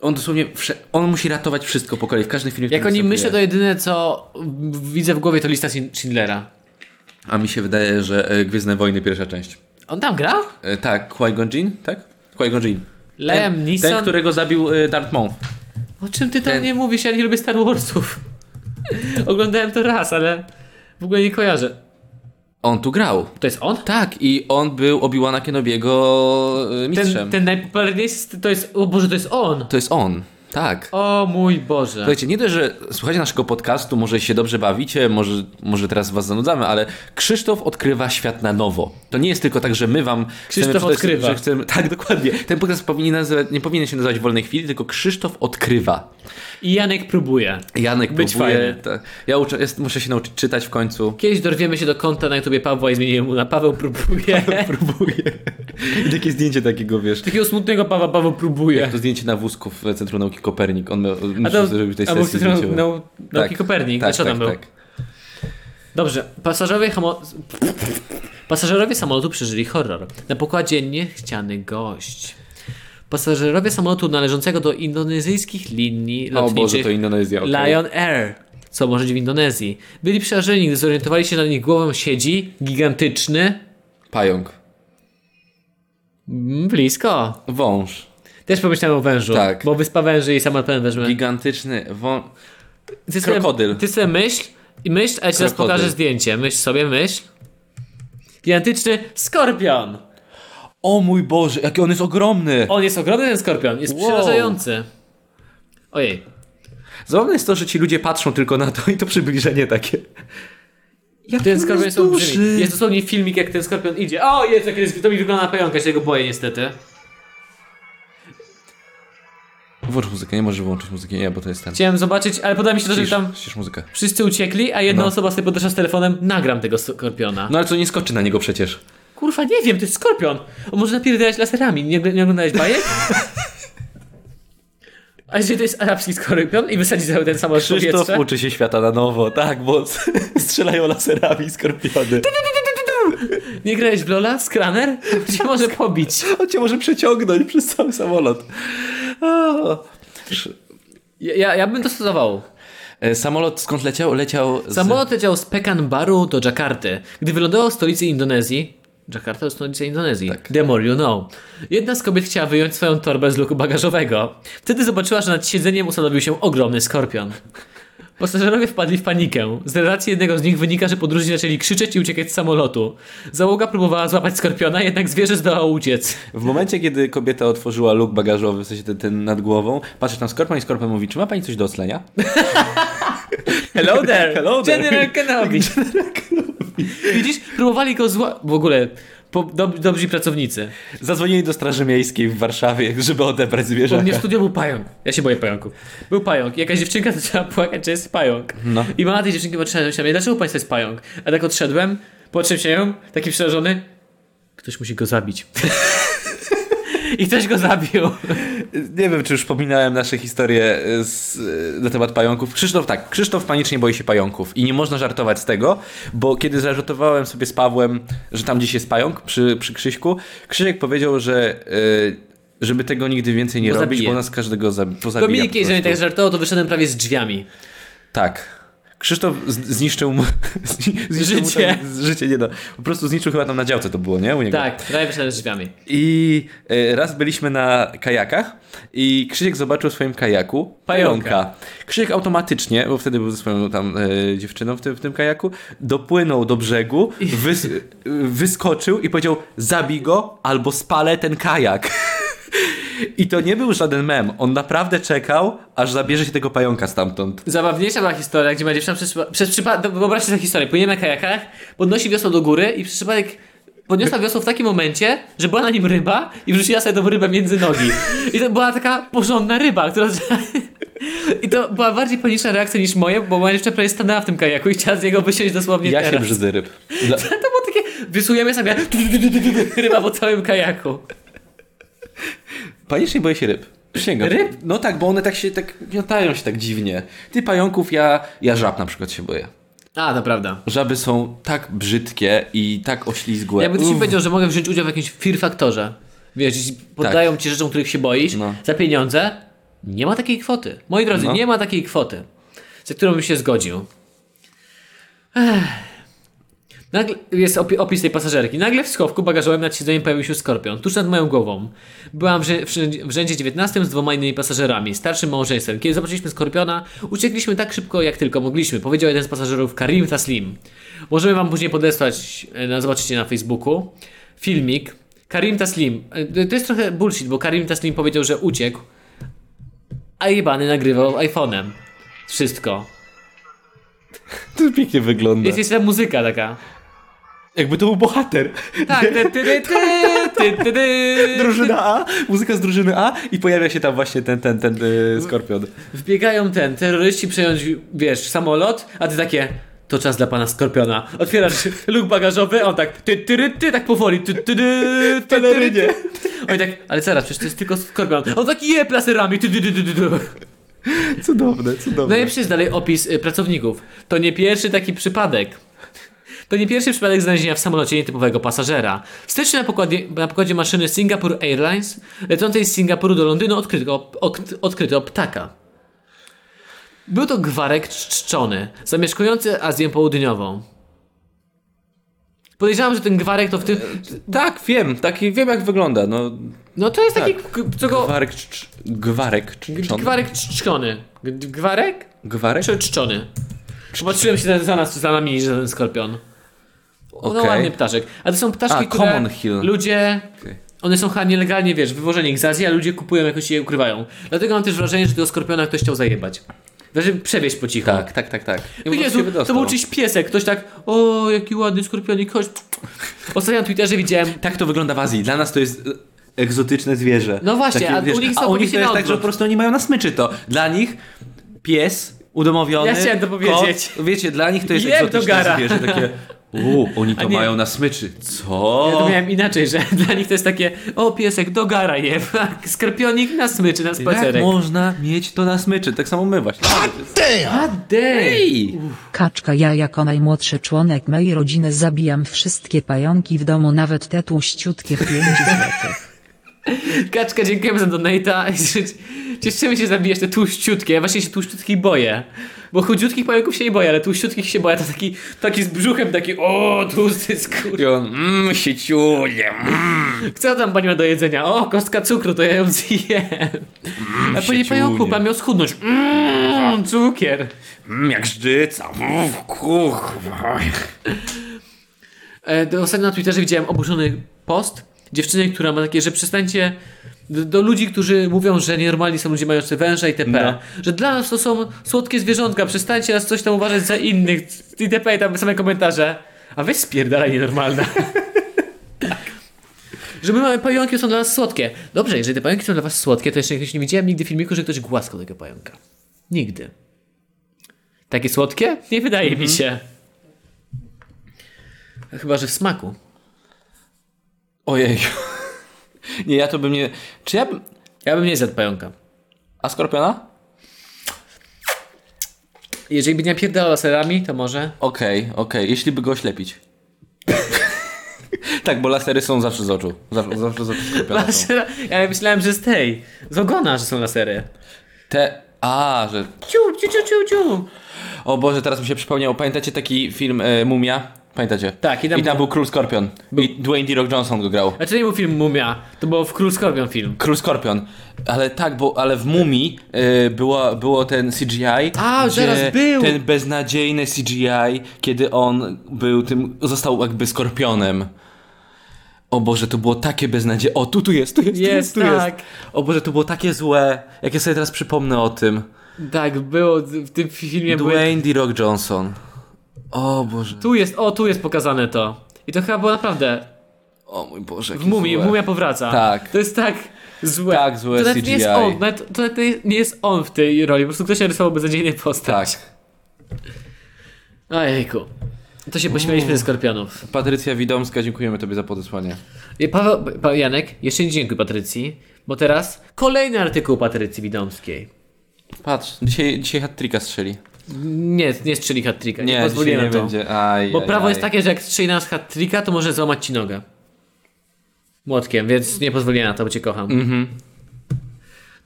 Speaker 1: On dosłownie, wsze- on musi ratować wszystko po kolei, w każdym filmie. w
Speaker 2: Jak
Speaker 1: którym
Speaker 2: oni myślę,
Speaker 1: występuje.
Speaker 2: to jedyne co w- widzę w głowie to lista Schin- Schindlera.
Speaker 1: A mi się wydaje, że e, Gwiezdne Wojny pierwsza część.
Speaker 2: On tam gra?
Speaker 1: E, tak, Qui-Gon Jinn, tak? Qui-Gon Jinn.
Speaker 2: Liam
Speaker 1: ten,
Speaker 2: Neeson?
Speaker 1: Ten, którego zabił e, Darth Maul.
Speaker 2: O czym ty tam
Speaker 1: Ten-
Speaker 2: nie mówisz? Ja nie lubię Star Warsów. Oglądałem to raz, ale w ogóle nie kojarzę.
Speaker 1: On tu grał.
Speaker 2: To jest on?
Speaker 1: Tak, i on był Obi-Wana Kenobiego e, mistrzem.
Speaker 2: Ten, ten najpopularniejszy to jest. O Boże, to jest on!
Speaker 1: To jest on, tak.
Speaker 2: O mój Boże.
Speaker 1: Słuchajcie, nie dość, że słuchacie naszego podcastu, może się dobrze bawicie, może, może teraz was zanudzamy, ale Krzysztof odkrywa świat na nowo. To nie jest tylko tak, że my wam...
Speaker 2: Krzysztof
Speaker 1: chcemy, przeczytać-
Speaker 2: odkrywa.
Speaker 1: Że chcemy, tak, dokładnie. Ten podcast powinien nazywać, nie powinien się nazywać Wolnej Chwili, tylko Krzysztof odkrywa.
Speaker 2: I Janek próbuje.
Speaker 1: Janek
Speaker 2: Być
Speaker 1: próbuje...
Speaker 2: fajny.
Speaker 1: Tak, ja uczę, jest, muszę się nauczyć czytać w końcu.
Speaker 2: Kiedyś dorwiemy się do konta na YouTubie Pawła i zmienimy mu na Paweł próbuje.
Speaker 1: Próbuję. I takie zdjęcie takiego, wiesz...
Speaker 2: Takiego smutnego Pawła Paweł próbuje.
Speaker 1: To zdjęcie na wózku w Centrum Nauki Kopernik. On
Speaker 2: A
Speaker 1: musiał zrobić tej
Speaker 2: albo
Speaker 1: sesji
Speaker 2: Centrum
Speaker 1: zdjęciowej.
Speaker 2: Nau- Nauki
Speaker 1: Tak,
Speaker 2: Kopernik.
Speaker 1: tak,
Speaker 2: Znaczy,
Speaker 1: tak,
Speaker 2: tam był.
Speaker 1: tak.
Speaker 2: Dobrze, pasażerowie, homo... pasażerowie samolotu przeżyli horror. Na pokładzie niechciany gość. Pasażerowie samolotu należącego do indonezyjskich linii
Speaker 1: O Boże,
Speaker 2: lotniczych
Speaker 1: No, to Indonezja. okej.
Speaker 2: Lion Air, co może być w Indonezji, byli przerażeni, gdy zorientowali się, że na nich głową siedzi gigantyczny...
Speaker 1: Pająk.
Speaker 2: Mm, Blisko.
Speaker 1: Wąż.
Speaker 2: Też pomyślałem o wężu,
Speaker 1: Tak.
Speaker 2: bo wyspa węży i sama ten węż.
Speaker 1: Gigantyczny wą...
Speaker 2: Ty sobie,
Speaker 1: krokodyl.
Speaker 2: Ty sobie myśl i myśl, a ja ci teraz
Speaker 1: Krokodyl.
Speaker 2: pokażę zdjęcie. Myśl sobie, myśl. Gigantyczny skorpion.
Speaker 1: O mój Boże, jaki on jest ogromny!
Speaker 2: On jest ogromny ten skorpion, jest
Speaker 1: Wow.
Speaker 2: przerażający. Ojej.
Speaker 1: Zabawne jest to, że ci ludzie patrzą tylko na to i to przybliżenie takie. Jak
Speaker 2: Ten skorpion jest olbrzymi. Jest dosłownie filmik, jak ten skorpion idzie. O, jest, jak jest, to mi wygląda na pająka, ja się tego boję niestety.
Speaker 1: Włącz muzykę, nie możesz wyłączyć muzyki, nie, bo to jest ten...
Speaker 2: Chciałem zobaczyć, ale podoba mi się to, że
Speaker 1: Ścisz,
Speaker 2: tam
Speaker 1: ścisz muzykę.
Speaker 2: wszyscy uciekli, a jedna osoba sobie podeszła z telefonem, nagram tego skorpiona.
Speaker 1: No ale co, nie skoczy na niego przecież.
Speaker 2: Kurwa, nie wiem, to jest skorpion. On może napierdalać laserami. Nie, nie oglądałeś bajek? A jeżeli to jest arabski skorpion i wysadzi cały ten samolot w
Speaker 1: Krzysztof
Speaker 2: powietrze?
Speaker 1: uczy się świata na nowo, tak, bo strzelają laserami skorpiony.
Speaker 2: Nie grałeś w Lola? Skraner? Cię może pobić.
Speaker 1: On cię może przeciągnąć przez cały samolot. O.
Speaker 2: Ja, ja, ja bym to stosował.
Speaker 1: E, Samolot skąd leciał? Leciał z...
Speaker 2: Samolot leciał z Pekanbaru do Dżakarty. Gdy wylądował w stolicy Indonezji, Dżakarta to stolica Indonezji,
Speaker 1: Tak.
Speaker 2: the more you know, jedna z kobiet chciała wyjąć swoją torbę z luku bagażowego. Wtedy zobaczyła, że nad siedzeniem ustanowił się ogromny skorpion. Pasażerowie wpadli w panikę. Z relacji jednego z nich wynika, że podróżni zaczęli krzyczeć i uciekać z samolotu. Załoga próbowała złapać skorpiona, jednak zwierzę zdołało uciec.
Speaker 1: W momencie, kiedy kobieta otworzyła luk bagażowy, w sensie ten, ten nad głową, patrzy tam skorpion i skorpion mówi, czy ma pani coś do oclenia?
Speaker 2: Hello there,
Speaker 1: Hello there.
Speaker 2: General Kenobi. Widzisz, próbowali go zła... W ogóle, po, dob- dobrzy pracownicy.
Speaker 1: Zadzwonili do Straży Miejskiej w Warszawie, żeby odebrać
Speaker 2: U
Speaker 1: zwierzę.
Speaker 2: mnie w studio był pająk. Mhm. Ja się boję pająków. Był pająk. Jakaś dziewczynka zaczęła płakać, że jest pająk.
Speaker 1: No.
Speaker 2: I mama tej dziewczynki patrzyła się na mnie, dlaczego u państwa jest pająk? A tak odszedłem, patrzę się ją, taki przerażony. Ktoś musi go zabić. I ktoś go zabił.
Speaker 1: Nie wiem, czy już wspominałem nasze historie e, z, na temat pająków. Krzysztof, tak, Krzysztof panicznie boi się pająków i nie można żartować z tego, bo kiedy zażartowałem sobie z Pawłem, że tam gdzieś jest pająk przy, przy Krzyśku, Krzysiek powiedział, że y, żeby tego nigdy więcej nie
Speaker 2: Bo
Speaker 1: robić,
Speaker 2: zabije.
Speaker 1: bo nas każdego zabi- pozabija.
Speaker 2: Dominik,
Speaker 1: po
Speaker 2: jeżeli
Speaker 1: prostu. No.
Speaker 2: tak żartował, to wyszedłem prawie z drzwiami.
Speaker 1: Tak. Krzysztof z- zniszczył mu zni- zniszczył
Speaker 2: Życie.
Speaker 1: Mu tam, życie nie no. Po prostu zniszczył chyba tam na działce to było, nie? U niego.
Speaker 2: Tak, prawie wyszedłem z drzwiami.
Speaker 1: I e, raz byliśmy na kajakach i Krzysiek zobaczył w swoim kajaku
Speaker 2: Pająka.
Speaker 1: pająka. Krzysiek automatycznie, bo wtedy był ze swoją tam e, dziewczyną w tym, w tym kajaku, dopłynął do brzegu, wys, e, wyskoczył i powiedział zabij go albo spalę ten kajak. I to nie był żaden mem. On naprawdę czekał, aż zabierze się tego pająka stamtąd.
Speaker 2: Zabawniejsza była historia, gdzie ma dziewczyna przez, przez przypadek. Wyobraźcie sobie historię. Płyniemy na kajakach, podnosi wiosło do góry i przez przypadek podniosła wiosło w takim momencie, że była na nim ryba i wrzuciła sobie tą rybę między nogi. I to była taka porządna ryba, która. I to była bardziej paniczna reakcja niż moja, bo moja dziewczyna prawie stanęła w tym kajaku i chciała z niego wysiąść dosłownie
Speaker 1: Ja się
Speaker 2: teraz.
Speaker 1: brzydzę ryb. Dla,
Speaker 2: to było takie, wysujemy sobie, ryba po całym kajaku.
Speaker 1: Panicznie boję się ryb. Przysięgam.
Speaker 2: Ryb?
Speaker 1: No tak, bo one tak się, tak miatają się tak dziwnie. Ty pająków, ja, ja żab na przykład się boję.
Speaker 2: A, to prawda.
Speaker 1: Żaby są tak brzydkie i tak oślizgłe.
Speaker 2: Jakby ktoś
Speaker 1: Uff.
Speaker 2: ci powiedział, że mogę wziąć udział w jakimś fear faktorze. Wiesz, jeśli poddają ci rzeczą, których się boisz
Speaker 1: No.
Speaker 2: za pieniądze, nie ma takiej kwoty. Moi drodzy,
Speaker 1: No.
Speaker 2: nie ma takiej kwoty, za którą bym się zgodził. Ech. Nagle, jest opi- opis tej pasażerki. Nagle w schowku bagażowym nad siedzeniem pojawił się skorpion, tuż nad moją głową. Byłam w, rzę- w, rzędzie- w rzędzie 19 z dwoma innymi pasażerami, starszym małżeństwem. Kiedy zobaczyliśmy skorpiona, uciekliśmy tak szybko, jak tylko mogliśmy, powiedział jeden z pasażerów Karim Taslim. Możemy wam później podesłać, e, na, zobaczycie na Facebooku, filmik. Karim Taslim. E, To jest trochę bullshit, bo Karim Taslim powiedział, że uciekł, a jebany nagrywał iPhone'em. Wszystko.
Speaker 1: To pięknie wygląda.
Speaker 2: Jest jeszcze muzyka taka.
Speaker 1: Jakby to był bohater.
Speaker 2: Tak, ty, ty, ty, ty, ty, ty, ty.
Speaker 1: Drużyna A, muzyka z drużyny A i pojawia się tam właśnie ten, ten, ten y, skorpion.
Speaker 2: Wbiegają ten, terroryści przejąć, wiesz, samolot, a ty takie, to czas dla pana Skorpiona. Otwierasz luk bagażowy, a on tak, ty, ty, ty, ty tak powoli, ty, ty, ty, ty, ty, ty, ty.
Speaker 1: pelerynie.
Speaker 2: Oni tak, ale zaraz, przecież to jest tylko Skorpion. On tak je plaserami, ty, ty, ty, ty, ty, ty.
Speaker 1: Cudowne, cudowne.
Speaker 2: Najlepszy jest No dalej opis y, pracowników. To nie pierwszy taki przypadek. To nie pierwszy przypadek znalezienia w samolocie nietypowego pasażera. W styczniu na pokładzie, na pokładzie maszyny Singapore Airlines, lecącej z Singapuru do Londynu, odkryto, ok, odkryto ptaka. Był to gwarek cz- czczony, zamieszkujący Azję Południową. Podejrzewam, że ten gwarek to w tym.
Speaker 1: Tak, wiem, taki, wiem jak wygląda. No,
Speaker 2: No to jest taki. k- Co go.
Speaker 1: gwarek, cz, gwarek, cz, czon,
Speaker 2: Gwarek czczony. G- Gwarek?
Speaker 1: gwarek?
Speaker 2: Czy czczony? Zobaczyłem się za nas, za nami, że ten skorpion. No
Speaker 1: Okej.
Speaker 2: ładny ptaszek. A to są ptaszki,
Speaker 1: A,
Speaker 2: które
Speaker 1: common hill.
Speaker 2: ludzie...
Speaker 1: Okej.
Speaker 2: One są chyba nielegalnie, wiesz, wywożenie ich z Azji, a ludzie kupują jakoś i je ukrywają. Dlatego mam też wrażenie, że tego skorpiona ktoś chciał zajebać. Znaczy przewieźć po cichu.
Speaker 1: Tak, tak, tak, tak. I
Speaker 2: O
Speaker 1: po prostu się
Speaker 2: Jezu, to
Speaker 1: wydostał.
Speaker 2: był czyś piesek. Ktoś tak, o, jaki ładny skorpionik, chodź. Ostatnio na Twitterze widziałem
Speaker 1: Tak to wygląda w Azji. Dla nas to jest e, egzotyczne zwierzę.
Speaker 2: No właśnie, a u nich
Speaker 1: a
Speaker 2: są
Speaker 1: u nich to
Speaker 2: całkowicie na
Speaker 1: jest tak, że
Speaker 2: odwrót.
Speaker 1: po prostu oni mają na smyczy to. Dla nich pies udomowiony.
Speaker 2: Ja chciałem to powiedzieć.
Speaker 1: Kot, wiecie, dla nich to jest
Speaker 2: Jem do
Speaker 1: egzotyczne
Speaker 2: gara.
Speaker 1: zwierzę. Takie, u, oni
Speaker 2: A
Speaker 1: to
Speaker 2: nie.
Speaker 1: mają na smyczy.
Speaker 2: Ja
Speaker 1: Co?
Speaker 2: to miałem inaczej, że dla nich to jest takie, o piesek, do gara je, a skorpionik na smyczy, na
Speaker 1: Jak
Speaker 2: spacerek.
Speaker 1: można mieć to na smyczy? Tak samo my właśnie.
Speaker 2: A dej!
Speaker 1: Ej!
Speaker 3: Kaczka ja jako najmłodszy członek mojej rodziny zabijam wszystkie pająki w domu, nawet te tłuściutkie w 5 złotych.
Speaker 2: Kaczka, dziękujemy za donate'a. Cieszymy się, że zabijesz te tłuściutkie. Ja właśnie się tłuściutkich boję. Bo chudziutkich pająków się nie boję, ale tłuściutkich się boję. To taki, taki z brzuchem, taki o, tłusty skór.
Speaker 1: I on, mmm, sieciuliem,
Speaker 2: Co tam pani ma do jedzenia? O, kostka cukru, to ja ją zjem. A pani
Speaker 1: sieciunie.
Speaker 2: pająku, pan miał schudnąć. Mmm, cukier.
Speaker 1: mmm, jak żdżyca, mmm, kurwa.
Speaker 2: E, do- Ostatnio na Twitterze widziałem oburzony post dziewczyny, która ma takie, że przestańcie do, do ludzi, którzy mówią, że nienormalni są ludzie mający węża itp. Że dla nas to są słodkie zwierzątka, przestańcie nas coś tam uważać za innych itp. i tam same komentarze. A weź spierdalaj nienormalna. Że my mamy pająki, są dla nas słodkie. Dobrze, jeżeli te pająki są dla was słodkie, to jeszcze jakoś nie widziałem nigdy filmiku, że ktoś głaskał tego pająka. Nigdy. Takie słodkie? Nie wydaje mi się. Chyba, że w smaku.
Speaker 1: Ojej. Nie, ja to bym nie... Czy ja bym...
Speaker 2: Ja bym nie zjadł pająka.
Speaker 1: A skorpiona?
Speaker 2: Jeżeli by nie pierdalał laserami, to może.
Speaker 1: Okej, okej, jeśli by go oślepić. tak, bo lasery są zawsze z oczu. Zawsze, zawsze z oczu skorpiona są.
Speaker 2: Lasera... Ja myślałem, że z tej. Z ogona, że są lasery.
Speaker 1: Te... A, że...
Speaker 2: Ciu, ciu, ciu, ciu, ciu.
Speaker 1: O Boże, teraz mi się przypomniał. Pamiętacie taki film e, Mumia? Pamiętacie?
Speaker 2: Tak, i tam-
Speaker 1: był Król Skorpion. I Dwayne D. Rock Johnson go grał.
Speaker 2: A to nie był film Mumia, to był w Król Skorpion film.
Speaker 1: Król Skorpion. Ale tak, bo ale w Mumii y, było, było ten CGI.
Speaker 2: A,
Speaker 1: gdzie
Speaker 2: zaraz był!
Speaker 1: Ten beznadziejny CGI, kiedy on był tym, został jakby skorpionem. O Boże, to było takie beznadzie. O, tu, tu jest, tu jest, tu
Speaker 2: Jest,
Speaker 1: jest, tu
Speaker 2: tak.
Speaker 1: jest. O Boże, to było takie złe. Jak ja sobie teraz przypomnę o tym.
Speaker 2: Tak, było w tym filmie. Były...
Speaker 1: Dwayne D. Rock Johnson. O Boże.
Speaker 2: Tu jest, o, tu jest pokazane to. I to chyba było naprawdę.
Speaker 1: O mój Boże,
Speaker 2: W
Speaker 1: jakie
Speaker 2: mumii,
Speaker 1: złe.
Speaker 2: mumia powraca.
Speaker 1: Tak.
Speaker 2: To jest tak złe.
Speaker 1: Tak, złe
Speaker 2: to nawet nie jest
Speaker 1: CGI.
Speaker 2: on, nawet, to nawet nie- nie jest on w tej roli, po prostu ktoś narysował beznadziejny postać.
Speaker 1: Tak.
Speaker 2: Ojejku. To się pośmialiśmy ze skorpionów.
Speaker 1: Patrycja Widomska, dziękujemy Tobie za podesłanie.
Speaker 2: Y, Paweł, pa, Janek, jeszcze nie dziękuję Patrycji, bo teraz kolejny artykuł Patrycji Widomskiej.
Speaker 1: Patrz, dzisiaj, dzisiaj hat-tricka strzeli.
Speaker 2: Nie, nie strzeli hat nie, nie
Speaker 1: Nie, dzisiaj
Speaker 2: pozwoliłem
Speaker 1: nie
Speaker 2: na to.
Speaker 1: będzie. Aj,
Speaker 2: Bo
Speaker 1: aj,
Speaker 2: prawo
Speaker 1: aj.
Speaker 2: jest takie, że jak strzeli nas hat to może złamać ci nogę. Młotkiem, więc nie pozwoliłem na to, bo cię kocham.
Speaker 1: Mhm.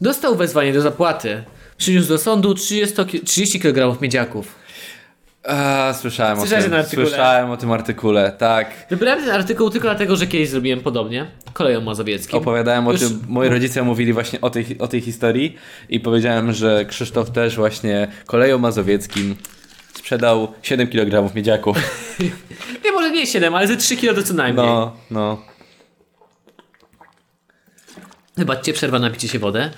Speaker 2: Dostał wezwanie do zapłaty. Przyniósł do sądu 30, ki- 30 kg miedziaków.
Speaker 1: A, słyszałem o
Speaker 2: Słyszałeś
Speaker 1: tym.
Speaker 2: o tym artykule?
Speaker 1: Słyszałem o tym artykule, tak.
Speaker 2: Wybrałem ten artykuł tylko dlatego, że kiedyś zrobiłem podobnie. Koleją mazowieckim.
Speaker 1: Opowiadałem o
Speaker 2: Już-
Speaker 1: tym, moi rodzice mówili właśnie o tej, o tej historii i powiedziałem, że Krzysztof też właśnie koleją mazowieckim sprzedał 7 kg miedziaków.
Speaker 2: Nie, może nie 7, ale ze 3 kg to co najmniej.
Speaker 1: No, no.
Speaker 2: Wybaczcie, przerwa na picie się wodę.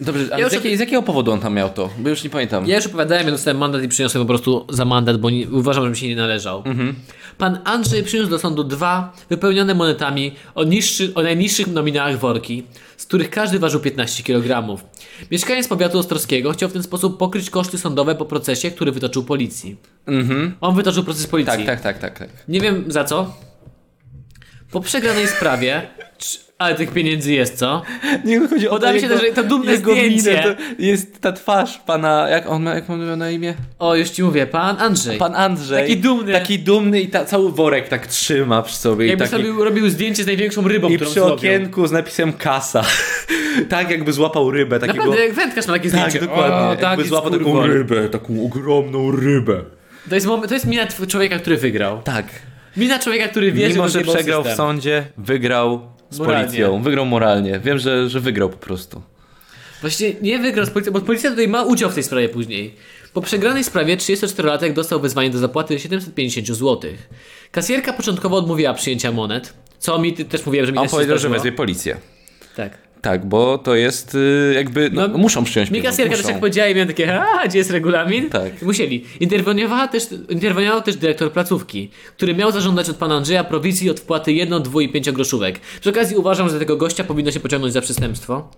Speaker 1: Dobrze,
Speaker 2: Ja
Speaker 1: ale
Speaker 2: już
Speaker 1: z, jakiej, z jakiego powodu on tam miał to? Bo już nie pamiętam.
Speaker 2: Ja już opowiadałem, ja dostałem mandat i przyniosłem po prostu za mandat, bo nie, uważam, że mi się nie należał.
Speaker 1: Mhm.
Speaker 2: Pan Andrzej przyniósł do sądu dwa wypełnione monetami o, niższy, o najniższych nominałach worki, z których każdy ważył 15 kg. Mieszkaniec powiatu ostrowskiego chciał w ten sposób pokryć koszty sądowe po procesie, który wytoczył policji. On wytoczył proces policji.
Speaker 1: Mhm. Tak, tak, tak, tak, tak.
Speaker 2: Nie wiem za co. Po przegranej sprawie, czy- ale tych pieniędzy jest co?
Speaker 1: Nie no chodzi o
Speaker 2: Podoba
Speaker 1: to
Speaker 2: mi się
Speaker 1: jego-
Speaker 2: też, że to dumne
Speaker 1: jego
Speaker 2: zdjęcie.
Speaker 1: minę, to jest ta twarz pana, jak on ma, jak on miał na imię?
Speaker 2: O, już ci mówię, pan Andrzej.
Speaker 1: Pan Andrzej.
Speaker 2: Taki dumny.
Speaker 1: Taki dumny i ta, cały worek tak trzyma przy sobie.
Speaker 2: Jakby
Speaker 1: i taki,
Speaker 2: sobie robił zdjęcie z największą rybą,
Speaker 1: I
Speaker 2: którą
Speaker 1: przy
Speaker 2: zrobił.
Speaker 1: okienku z napisem kasa. tak jakby złapał rybę. Takiego,
Speaker 2: Naprawdę, jak wędkarz ma takie
Speaker 1: tak,
Speaker 2: zdjęcie.
Speaker 1: dokładnie.
Speaker 2: O,
Speaker 1: jakby
Speaker 2: tak, jest
Speaker 1: złapał taką
Speaker 2: kurwa.
Speaker 1: rybę, taką ogromną rybę.
Speaker 2: To jest, moment, to jest mina tw- człowieka, który wygrał.
Speaker 1: Tak.
Speaker 2: Mina człowieka, który wie,
Speaker 1: Mimo,
Speaker 2: że
Speaker 1: że
Speaker 2: rozjebał
Speaker 1: przegrał w
Speaker 2: system.
Speaker 1: sądzie, wygrał z
Speaker 2: Moralnie.
Speaker 1: policją. Wygrał moralnie. Wiem, że, że wygrał po prostu.
Speaker 2: Właśnie nie wygrał z policją, bo policja tutaj ma udział w tej sprawie później. Po przegranej sprawie 34-latek dostał wezwanie do zapłaty 750 zł. Kasjerka początkowo odmówiła przyjęcia monet, co mi ty też mówiłem, że mi
Speaker 1: On
Speaker 2: też no. się
Speaker 1: powiedział, że
Speaker 2: zdarzyło.
Speaker 1: wezwie policję.
Speaker 2: Tak.
Speaker 1: Tak, bo to jest y, jakby. No,
Speaker 2: No,
Speaker 1: muszą przyjąć
Speaker 2: Mi
Speaker 1: pieniądze,
Speaker 2: kasjerka też
Speaker 1: muszą.
Speaker 2: tak powiedziała i miałem takie, a gdzie jest regulamin?
Speaker 1: Tak.
Speaker 2: Musieli. Interweniowała też, interweniował też dyrektor placówki, który miał zażądać od pana Andrzeja prowizji od wpłaty 1, 2 i 5 groszówek. Przy okazji uważam, że tego gościa powinno się pociągnąć za przestępstwo,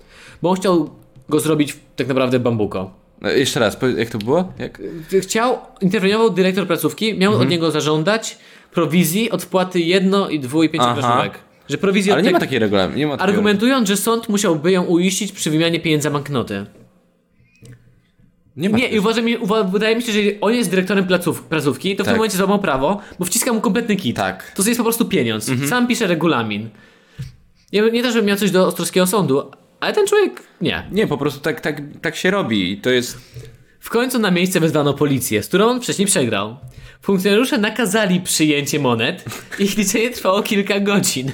Speaker 2: bo on chciał go zrobić w- tak naprawdę bambuko.
Speaker 1: No, Jeszcze raz, powiedz, jak to było? Jak?
Speaker 2: Chciał, interweniował dyrektor placówki, miał
Speaker 1: Mhm.
Speaker 2: od niego zażądać prowizji od wpłaty 1, i 2 i 5
Speaker 1: Aha.
Speaker 2: groszówek. Że prowizji
Speaker 1: Ale
Speaker 2: od
Speaker 1: nie ma
Speaker 2: tego-
Speaker 1: takiej regulaminu. Nie ma takiego-
Speaker 2: Argumentując, że sąd musiałby ją uiścić przy wymianie pieniędzy za banknoty.
Speaker 1: Nie, ma
Speaker 2: Nie, i
Speaker 1: takiego.
Speaker 2: uważam, uwa- wydaje mi się, że jeżeli on jest dyrektorem placów, placówki, to w tym
Speaker 1: Tak.
Speaker 2: momencie złamał prawo, bo wciska mu kompletny kit.
Speaker 1: Tak. Mhm.
Speaker 2: To jest po prostu pieniądz. Sam pisze regulamin. Nie, nie to, żebym miał coś do Ostrowskiego Sądu, Ale ten człowiek nie.
Speaker 1: Nie, po prostu tak, tak, tak się robi i to jest...
Speaker 2: W końcu na miejsce wezwano policję, z którą on wcześniej przegrał. Funkcjonariusze nakazali przyjęcie monet i ich liczenie trwało kilka godzin.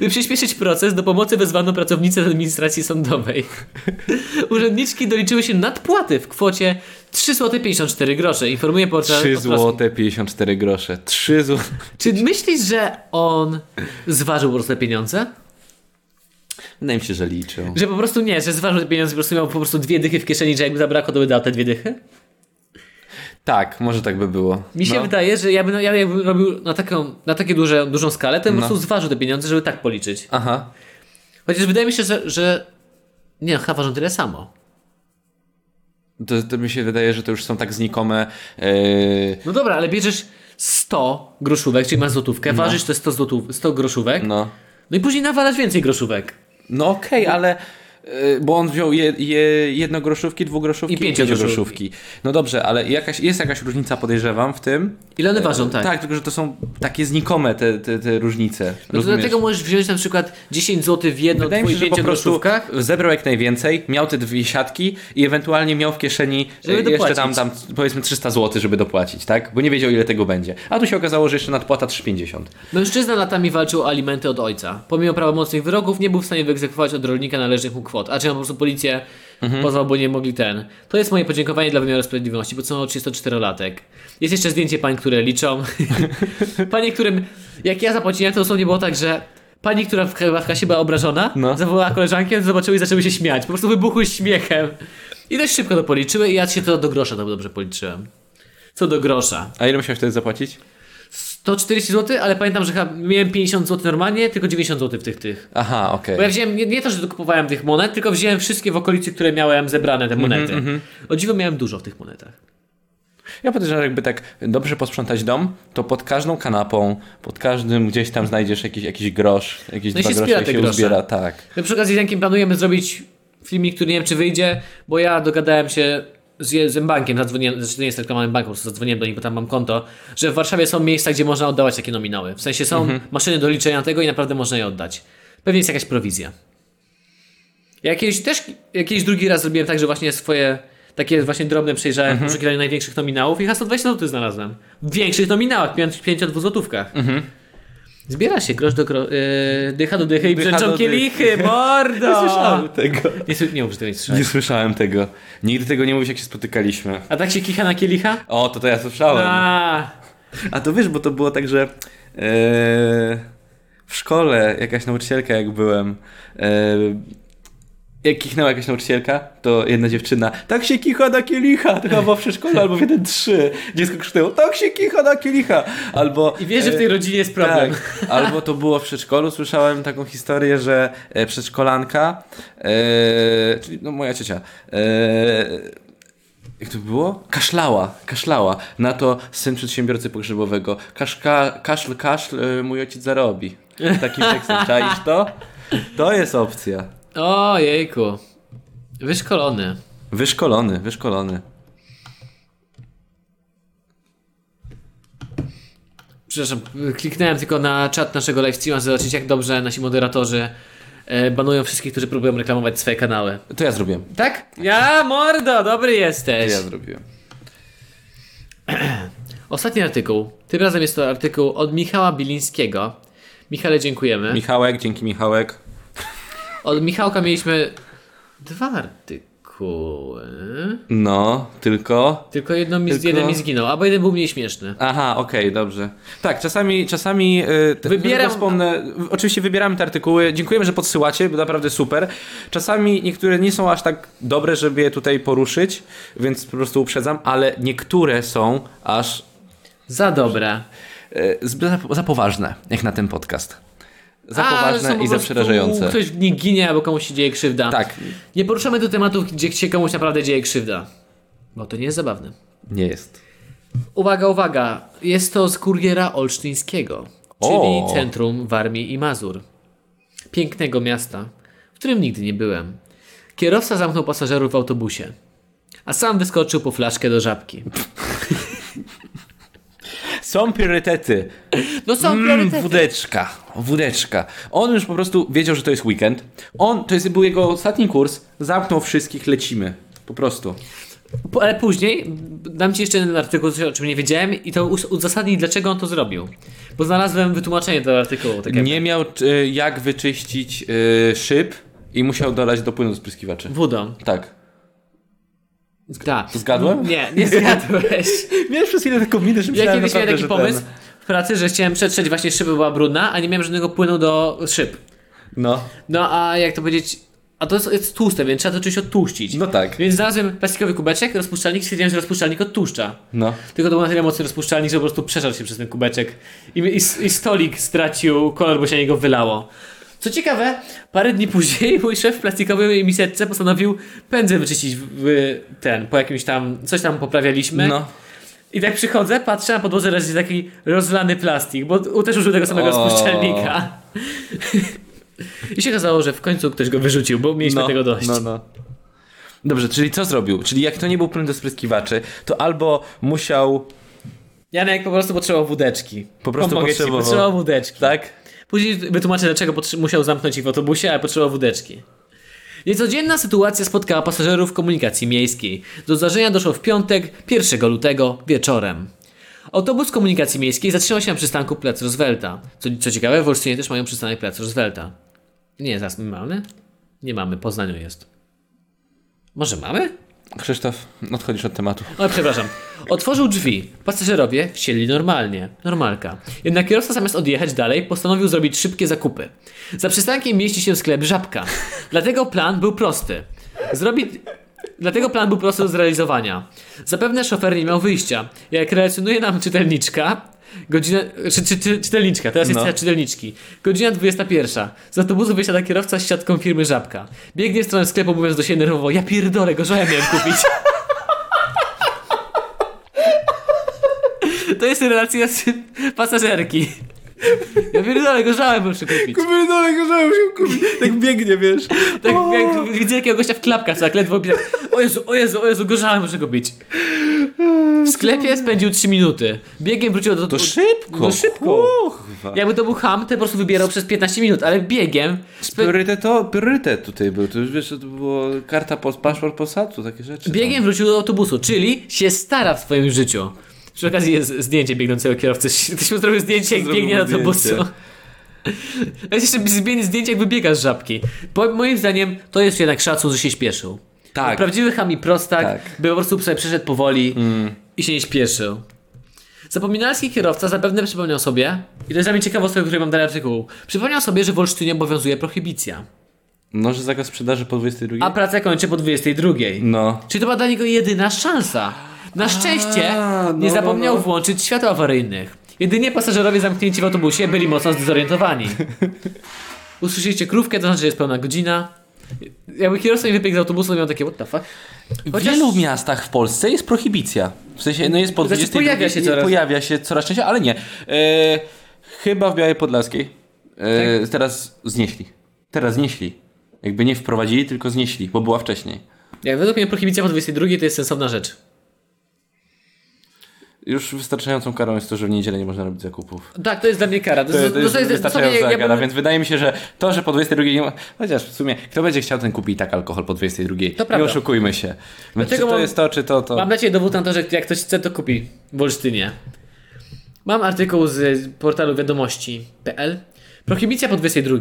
Speaker 2: By przyspieszyć proces, do pomocy wezwano pracownicę z administracji sądowej. Urzędniczki doliczyły się nadpłaty w kwocie 3,54 zł, informuje portal
Speaker 1: 3
Speaker 2: Ostrowski.
Speaker 1: złote 54 grosze. 3 zł.
Speaker 2: Czy myślisz, że on zważył po prostu te pieniądze?
Speaker 1: Wydaje mi się, że liczył.
Speaker 2: Że po prostu nie, że zważył te pieniądze, po prostu miał po prostu dwie dychy w kieszeni, że jakby zabrakło, to by dał te dwie dychy?
Speaker 1: Tak, może tak by było.
Speaker 2: Mi się
Speaker 1: No.
Speaker 2: wydaje, że ja bym, ja jakbym robił na taką, na takie duże, dużą skalę, to bym po
Speaker 1: No.
Speaker 2: prostu zważył te pieniądze, żeby tak policzyć.
Speaker 1: Aha.
Speaker 2: Chociaż wydaje mi się, że, że nie, no, chyba ważą tyle samo.
Speaker 1: To, to mi się wydaje, że to już są tak znikome. Yy,
Speaker 2: No dobra, ale bierzesz 100 groszówek, czyli masz złotówkę, ważysz te 100, złotów, 100 groszówek, no.
Speaker 1: no.
Speaker 2: i później nawalasz więcej groszówek.
Speaker 1: No okej, ale. y, Bo on wziął je, je, jednogroszówki, dwugroszówki
Speaker 2: I pięciogroszówki.
Speaker 1: No dobrze, ale jakaś, jest jakaś różnica, podejrzewam, w tym.
Speaker 2: Ile one ważą, tak?
Speaker 1: Tak, tylko że to są takie znikome te, te, te różnice.
Speaker 2: No to
Speaker 1: rozumiesz?
Speaker 2: dlatego możesz wziąć na przykład 10 zł w jedną,
Speaker 1: Wydaje mi się, że po
Speaker 2: 25
Speaker 1: prostu
Speaker 2: groszówkach.
Speaker 1: zebrał jak najwięcej, miał te dwie siatki i ewentualnie miał w kieszeni
Speaker 2: Żeby
Speaker 1: e, jeszcze
Speaker 2: dopłacić.
Speaker 1: tam, tam powiedzmy 300 zł, żeby dopłacić, tak? Bo nie wiedział ile tego będzie. A tu się okazało, że jeszcze nadpłata 3,50.
Speaker 2: Mężczyzna latami walczył o alimenty od ojca. Pomimo prawomocnych wyroków nie był w stanie wyegzekwować od rolnika należnych mu kwot. A czy on po prostu policję pozwał, bo nie mogli ten. To jest moje podziękowanie dla wymiaru sprawiedliwości, bo co 34-latek. Jest jeszcze zdjęcie pań, które liczą. Panie, którym jak ja zapłaciłem, to dosłownie było tak, że pani, która w chyba w kasie była obrażona,
Speaker 1: No.
Speaker 2: zawołała koleżankę, zobaczyły i zaczęły się śmiać. Po prostu wybuchły śmiechem. I dość szybko to policzyły i ja się to do grosza to dobrze policzyłem. Co do grosza.
Speaker 1: A ile musiałeś wtedy zapłacić?
Speaker 2: 140 zł, ale pamiętam, że chyba miałem 50 zł normalnie, tylko 90 zł w tych tych.
Speaker 1: Aha, okej.
Speaker 2: Bo ja wziąłem, nie, nie to, że dokupowałem tych monet, tylko wziąłem wszystkie w okolicy, które miałem zebrane, te monety. O dziwo miałem dużo w tych monetach.
Speaker 1: Ja podejrzewam, że jakby tak dobrze posprzątać dom, to pod każdą kanapą, pod każdym gdzieś tam znajdziesz jakiś, jakiś grosz, jakieś
Speaker 2: No i
Speaker 1: dwa
Speaker 2: się
Speaker 1: grosze
Speaker 2: zbiera
Speaker 1: i
Speaker 2: te
Speaker 1: się
Speaker 2: grosze.
Speaker 1: uzbiera, tak.
Speaker 2: My przy okazji z Jankiem planujemy zrobić filmik, który nie wiem, czy wyjdzie, bo ja dogadałem się z, je- z bankiem, zadzwoniłem, znaczy to nie jest tylko małym bankiem, po prostu zadzwoniłem do nich, bo tam mam konto, że w Warszawie są miejsca, gdzie można oddawać takie nominały. W sensie są
Speaker 1: Mhm.
Speaker 2: maszyny do liczenia tego i naprawdę można je oddać. Pewnie jest jakaś prowizja. Ja kiedyś też, ja kiedyś drugi raz zrobiłem tak, że właśnie swoje takie właśnie drobne przejrzałem
Speaker 1: Mhm.
Speaker 2: w poszukiwaniu największych nominałów i ja 120 zł znalazłem. W większych nominałach, 52 złotówkach.
Speaker 1: Mhm.
Speaker 2: Zbiera się grosz do gro... Yy, dycha do dychy i
Speaker 1: Dycha
Speaker 2: brzęczą
Speaker 1: do dychy.
Speaker 2: kielichy, mordo!
Speaker 1: tego.
Speaker 2: Nie, sły- nie mów, że tego nie słyszałem.
Speaker 1: Nie słyszałem tego. Nigdy tego nie mówisz, jak się spotykaliśmy.
Speaker 2: A tak się kicha na kielicha?
Speaker 1: O, to to ja słyszałem.
Speaker 2: A,
Speaker 1: A to wiesz, bo to było tak, że e, w szkole jakaś nauczycielka, jak byłem, e, jak kichnęła jakaś nauczycielka, to jedna dziewczyna, tak się kicha na kielicha, to chyba było w przedszkolu, albo w 1-3. Dziecko krzyknęło, tak się kicha na kielicha, albo... e,
Speaker 2: I wiesz, że w tej rodzinie jest problem.
Speaker 1: Tak. Albo to było w przedszkolu, słyszałem taką historię, że e, przedszkolanka, e, czyli no moja ciocia, e, jak to było? Kaszlała, kaszlała. Na to syn przedsiębiorcy pogrzebowego. Kasz, ka, kaszl, kaszl, y, mój ojciec zarobi. Takim tekstem. Czaisz to? To jest opcja.
Speaker 2: O jejku. Wyszkolony.
Speaker 1: Wyszkolony, wyszkolony.
Speaker 2: Przepraszam, kliknąłem tylko na czat naszego livestreama, żeby zobaczyć jak dobrze nasi moderatorzy e, banują wszystkich, którzy próbują reklamować swoje kanały.
Speaker 1: To ja zrobiłem.
Speaker 2: Tak? Ja, mordo, dobry
Speaker 1: To
Speaker 2: jesteś.
Speaker 1: ja zrobiłem.
Speaker 2: Ostatni artykuł. Tym razem jest to artykuł od Michała Bilińskiego. Michale, dziękujemy.
Speaker 1: Michałek, dzięki Michałek.
Speaker 2: Od Michałka mieliśmy dwa artykuły.
Speaker 1: No, tylko...
Speaker 2: Tylko jedno mi,
Speaker 1: Tylko-
Speaker 2: jeden mi zginął, albo jeden był mniej śmieszny.
Speaker 1: Aha, okej, dobrze. Tak, czasami, czasami y, te,
Speaker 2: Wybieram-
Speaker 1: tylko Wspomnę, w- oczywiście wybieramy te artykuły. Dziękujemy, że podsyłacie, bo naprawdę super. Czasami niektóre nie są aż tak dobre, żeby je tutaj poruszyć, więc po prostu uprzedzam, ale niektóre są aż
Speaker 2: Za dobre.
Speaker 1: y, zbyt za, za poważne, jak na ten podcast. Za
Speaker 2: A, ale są
Speaker 1: poważne
Speaker 2: po
Speaker 1: i za
Speaker 2: prostu-
Speaker 1: przerażające.
Speaker 2: Ktoś w nich ginie, albo komuś się dzieje krzywda.
Speaker 1: Tak.
Speaker 2: Nie poruszamy tu tematów, gdzie się komuś naprawdę dzieje krzywda. Bo to nie jest zabawne.
Speaker 1: Nie jest.
Speaker 2: Uwaga, uwaga. Jest to z kuriera olsztyńskiego, czyli
Speaker 1: O.
Speaker 2: centrum Warmii i Mazur. Pięknego miasta, w którym nigdy nie byłem. Kierowca zamknął pasażerów w autobusie, a sam wyskoczył po flaszkę do żabki.
Speaker 1: Są priorytety.
Speaker 2: No są
Speaker 1: Mm,
Speaker 2: priorytety.
Speaker 1: wódeczka, wódeczka. On już po prostu wiedział, że to jest weekend. On, to jest, był jego ostatni kurs, zamknął wszystkich, lecimy. Po prostu.
Speaker 2: Po- Ale później dam ci jeszcze jeden artykuł, coś, o czym nie wiedziałem i to us- uzasadni, dlaczego on to zrobił. Bo znalazłem wytłumaczenie tego artykułu. Tak jakby.
Speaker 1: Nie miał y, jak wyczyścić y, szyb i musiał dolać do płynu spryskiwaczy.
Speaker 2: Wodą.
Speaker 1: Tak.
Speaker 2: Tak.
Speaker 1: Zgadłem?
Speaker 2: Nie, nie zgadłeś.
Speaker 1: Miałem przez chwilę taką minę, że
Speaker 2: Ja
Speaker 1: myślałem
Speaker 2: kiedyś miałem
Speaker 1: naprawdę,
Speaker 2: taki
Speaker 1: że
Speaker 2: pomysł w pracy, że chciałem przetrzeć właśnie szyby, była brudna, a nie miałem żadnego płynu do szyb.
Speaker 1: Ten... No.
Speaker 2: No a jak to powiedzieć... A to jest, jest tłuste, więc trzeba to czymś odtłuścić.
Speaker 1: No tak.
Speaker 2: Więc znalazłem plastikowy kubeczek, rozpuszczalnik, stwierdziłem, że rozpuszczalnik odtłuszcza.
Speaker 1: No.
Speaker 2: Tylko to był na tyle mocny rozpuszczalnik, że po prostu przeszarł się przez ten kubeczek i, i, i stolik stracił kolor, bo się na niego wylało. Co ciekawe, parę dni później mój szef w plastikowej miseczce postanowił pędzę wyczyścić w, w ten, po jakimś tam, coś tam poprawialiśmy.
Speaker 1: No.
Speaker 2: I tak przychodzę, patrzę na podłodze leży taki rozlany plastik, bo u- też użył tego samego
Speaker 1: O.
Speaker 2: rozpuszczalnika. I się okazało, że w końcu ktoś go wyrzucił, bo mieliśmy
Speaker 1: no,
Speaker 2: tego dość.
Speaker 1: No, no. Dobrze, czyli co zrobił? Czyli jak to nie był płyn do spryskiwaczy, to albo musiał,
Speaker 2: Janek po prostu potrzebował wódeczki.
Speaker 1: Po prostu
Speaker 2: Pomogę ci,
Speaker 1: potrzebował.
Speaker 2: potrzebował wódeczki.
Speaker 1: tak?
Speaker 2: Później wytłumaczę, dlaczego potrze- musiał zamknąć ich w autobusie, ale potrzebował wódeczki. Niecodzienna sytuacja spotkała pasażerów komunikacji miejskiej. Do zdarzenia doszło w piątek, 1 lutego, wieczorem. Autobus komunikacji miejskiej zatrzymał się na przystanku Plac Roosevelta. Co, co ciekawe, w Olsztynie też mają przystanek Plac Roosevelta. Nie, zaraz my mamy? Nie mamy, Poznaniu jest. Może mamy?
Speaker 1: Krzysztof, odchodzisz od tematu.
Speaker 2: O, przepraszam. Otworzył drzwi. Pasażerowie wsiedli normalnie. Normalka. Jednak kierowca zamiast odjechać dalej, postanowił zrobić szybkie zakupy. Za przystankiem mieści się sklep Żabka. Dlatego plan był prosty. Zrobić... Dlatego plan był prosty do zrealizowania. Zapewne szofer nie miał wyjścia. Jak relacjonuje nam czytelniczka, godzina... Czy, czy, czy, czytelniczka, teraz jest
Speaker 1: No.
Speaker 2: no. czytelniczki. Godzina 21. Z autobusu wysiada kierowca z siatką firmy Żabka. Biegnie w stronę sklepu mówiąc do siebie nerwowo, ja pierdolę, gorzała miałem kupić. To jest relacja z pasażerki. Ja pierdolę, gorzałem muszę kupić.
Speaker 1: Kupię daleko, że się kupić. Tak biegnie, wiesz.
Speaker 2: Tak jak widzę takiego gościa w klapkach, tak ledwo opisał. O Jezu, o Jezu, o Jezu, gorzałem muszę kupić. W sklepie spędził 3 minuty. Biegiem wrócił do...
Speaker 1: To szybko.
Speaker 2: No szybko.
Speaker 1: Kurwa.
Speaker 2: Jakby to był ham, to po prostu wybierał przez 15 minut, ale biegiem... Spe...
Speaker 1: Priorytet, to, priorytet tutaj był. To już wiesz, to było karta, po, paszport posadu, takie rzeczy.
Speaker 2: Biegiem wrócił do autobusu, czyli się stara w swoim życiu. Przy okazji jest zdjęcie biegnącego kierowcy. Ktoś mu zrobił zdjęcie, jak
Speaker 1: Zrobił
Speaker 2: biegnie do
Speaker 1: mu
Speaker 2: autobusu.
Speaker 1: zdjęcie.
Speaker 2: Jest jeszcze zmieni zdjęcie, jak wybiega z żabki. Bo moim zdaniem to jest jednak szacun, że się śpieszył.
Speaker 1: Tak.
Speaker 2: Prawdziwy Hami prostak
Speaker 1: Tak. Mm.
Speaker 2: by po prostu sobie przeszedł powoli i się nie śpieszył. Zapominalski kierowca zapewne przypomniał sobie, i to jest dla mnie ciekawostka, o której mam dalej artykuł, przypomniał sobie, że w Olsztynie obowiązuje prohibicja,
Speaker 1: No, że zakaz sprzedaży po 22.
Speaker 2: a praca kończy po 22.
Speaker 1: No.
Speaker 2: Czyli to była dla niego jedyna szansa. Na szczęście
Speaker 1: no,
Speaker 2: nie
Speaker 1: no,
Speaker 2: zapomniał
Speaker 1: no.
Speaker 2: włączyć światła awaryjnych. Jedynie pasażerowie zamknięci w autobusie byli mocno zdezorientowani. Usłyszeliście krówkę, to znaczy, że jest pełna godzina. Jakby kierowca nie wybiegł z autobusu, to miał takie what the fuck.
Speaker 1: W wielu miastach w Polsce jest prohibicja. W sensie, no jest po
Speaker 2: Znaczy,
Speaker 1: 22,
Speaker 2: pojawia się
Speaker 1: i
Speaker 2: coraz-
Speaker 1: Pojawia się coraz częściej, ale nie. E, chyba w Białej Podlaskiej. E,
Speaker 2: Tak.
Speaker 1: Teraz znieśli. Teraz znieśli. Jakby nie wprowadzili, tylko znieśli, bo była wcześniej.
Speaker 2: Jak według mnie prohibicja po 22 to jest sensowna rzecz.
Speaker 1: Już wystarczającą karą jest to, że w niedzielę nie można robić zakupów.
Speaker 2: Tak, to jest dla mnie kara. To,
Speaker 1: To,
Speaker 2: jest-
Speaker 1: to już
Speaker 2: to jest-
Speaker 1: wystarczająca
Speaker 2: dosłownie jak-
Speaker 1: kara,
Speaker 2: jakbym-
Speaker 1: więc wydaje mi się, że to, że po 22 nie ma... Chociaż w sumie, kto będzie chciał, ten kupi i tak alkohol po 22.
Speaker 2: To prawda.
Speaker 1: Nie oszukujmy się. Więc czy
Speaker 2: Dlatego
Speaker 1: to
Speaker 2: mam-
Speaker 1: jest to, czy to, to...
Speaker 2: Mam dla Ciebie dowód na to, że jak ktoś chce, to kupi w Olsztynie. Mam artykuł z portalu wiadomości.pl. Prohibicja po 22.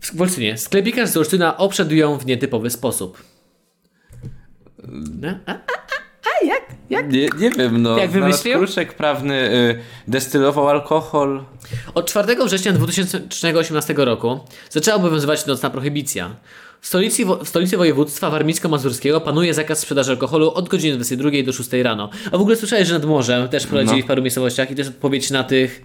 Speaker 2: W Olsztynie. Sklepikarz z Olsztyna obszedł ją w nietypowy sposób. No, a,
Speaker 1: Nie, nie wiem, no.
Speaker 2: Jak wymyślił?
Speaker 1: znalazł Kruszek prawny y, destylował alkohol.
Speaker 2: Od 4 września 2018 roku zaczęła obowiązywać nocna prohibicja. W stolicy, wo- w stolicy województwa warmińsko-mazurskiego panuje zakaz sprzedaży alkoholu od godziny 22 do 6 rano. A w ogóle słyszałeś, że nad morzem też prowadzili
Speaker 1: No.
Speaker 2: w paru miejscowościach i to jest odpowiedź na tych...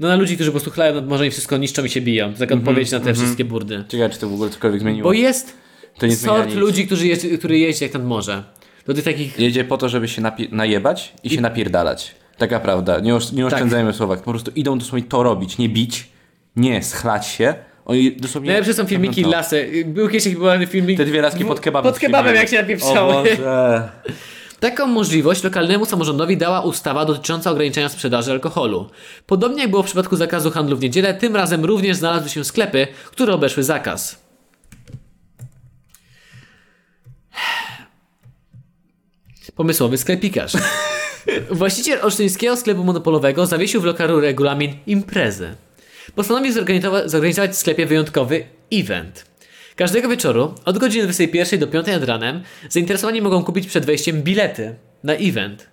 Speaker 2: No na ludzi, którzy po prostu chlają nad morzem i wszystko niszczą i się biją. Taka odpowiedź na te wszystkie burdy.
Speaker 1: Ciekawe, czy Mhm, to w ogóle cokolwiek zmieniło.
Speaker 2: Bo jest
Speaker 1: to nie zmienia
Speaker 2: sort
Speaker 1: nic.
Speaker 2: ludzi, którzy jeździ, który jeździ jak nad morze. Do tych takich...
Speaker 1: Jedzie po to, żeby się napi- najebać i, się napierdalać. Taka prawda. Nie, osz- nie
Speaker 2: Tak.
Speaker 1: oszczędzajmy słowa. Po prostu idą dosłownie to robić. Nie bić, nie schlać się. Oni dosłownie... No,
Speaker 2: Najlepsze są filmiki
Speaker 1: robią Mhm, to.
Speaker 2: lasy. Był kiedyś taki były filmik...
Speaker 1: Te dwie laski pod kebabem.
Speaker 2: Pod kebabem,
Speaker 1: filmie.
Speaker 2: jak się napieprzały.
Speaker 1: O Boże.
Speaker 2: To Taką możliwość lokalnemu samorządowi dała ustawa dotycząca ograniczenia sprzedaży alkoholu. Podobnie jak było w przypadku zakazu handlu w niedzielę, tym razem również znalazły się sklepy, które obeszły zakaz. Pomysłowy sklepikarz. Właściciel olsztyńskiego sklepu monopolowego zawiesił w lokalu regulamin imprezy. Postanowił zorganizowa- zorganizować w sklepie wyjątkowy event. Każdego wieczoru od godziny 21 do 5 nad ranem zainteresowani mogą kupić przed wejściem bilety na event.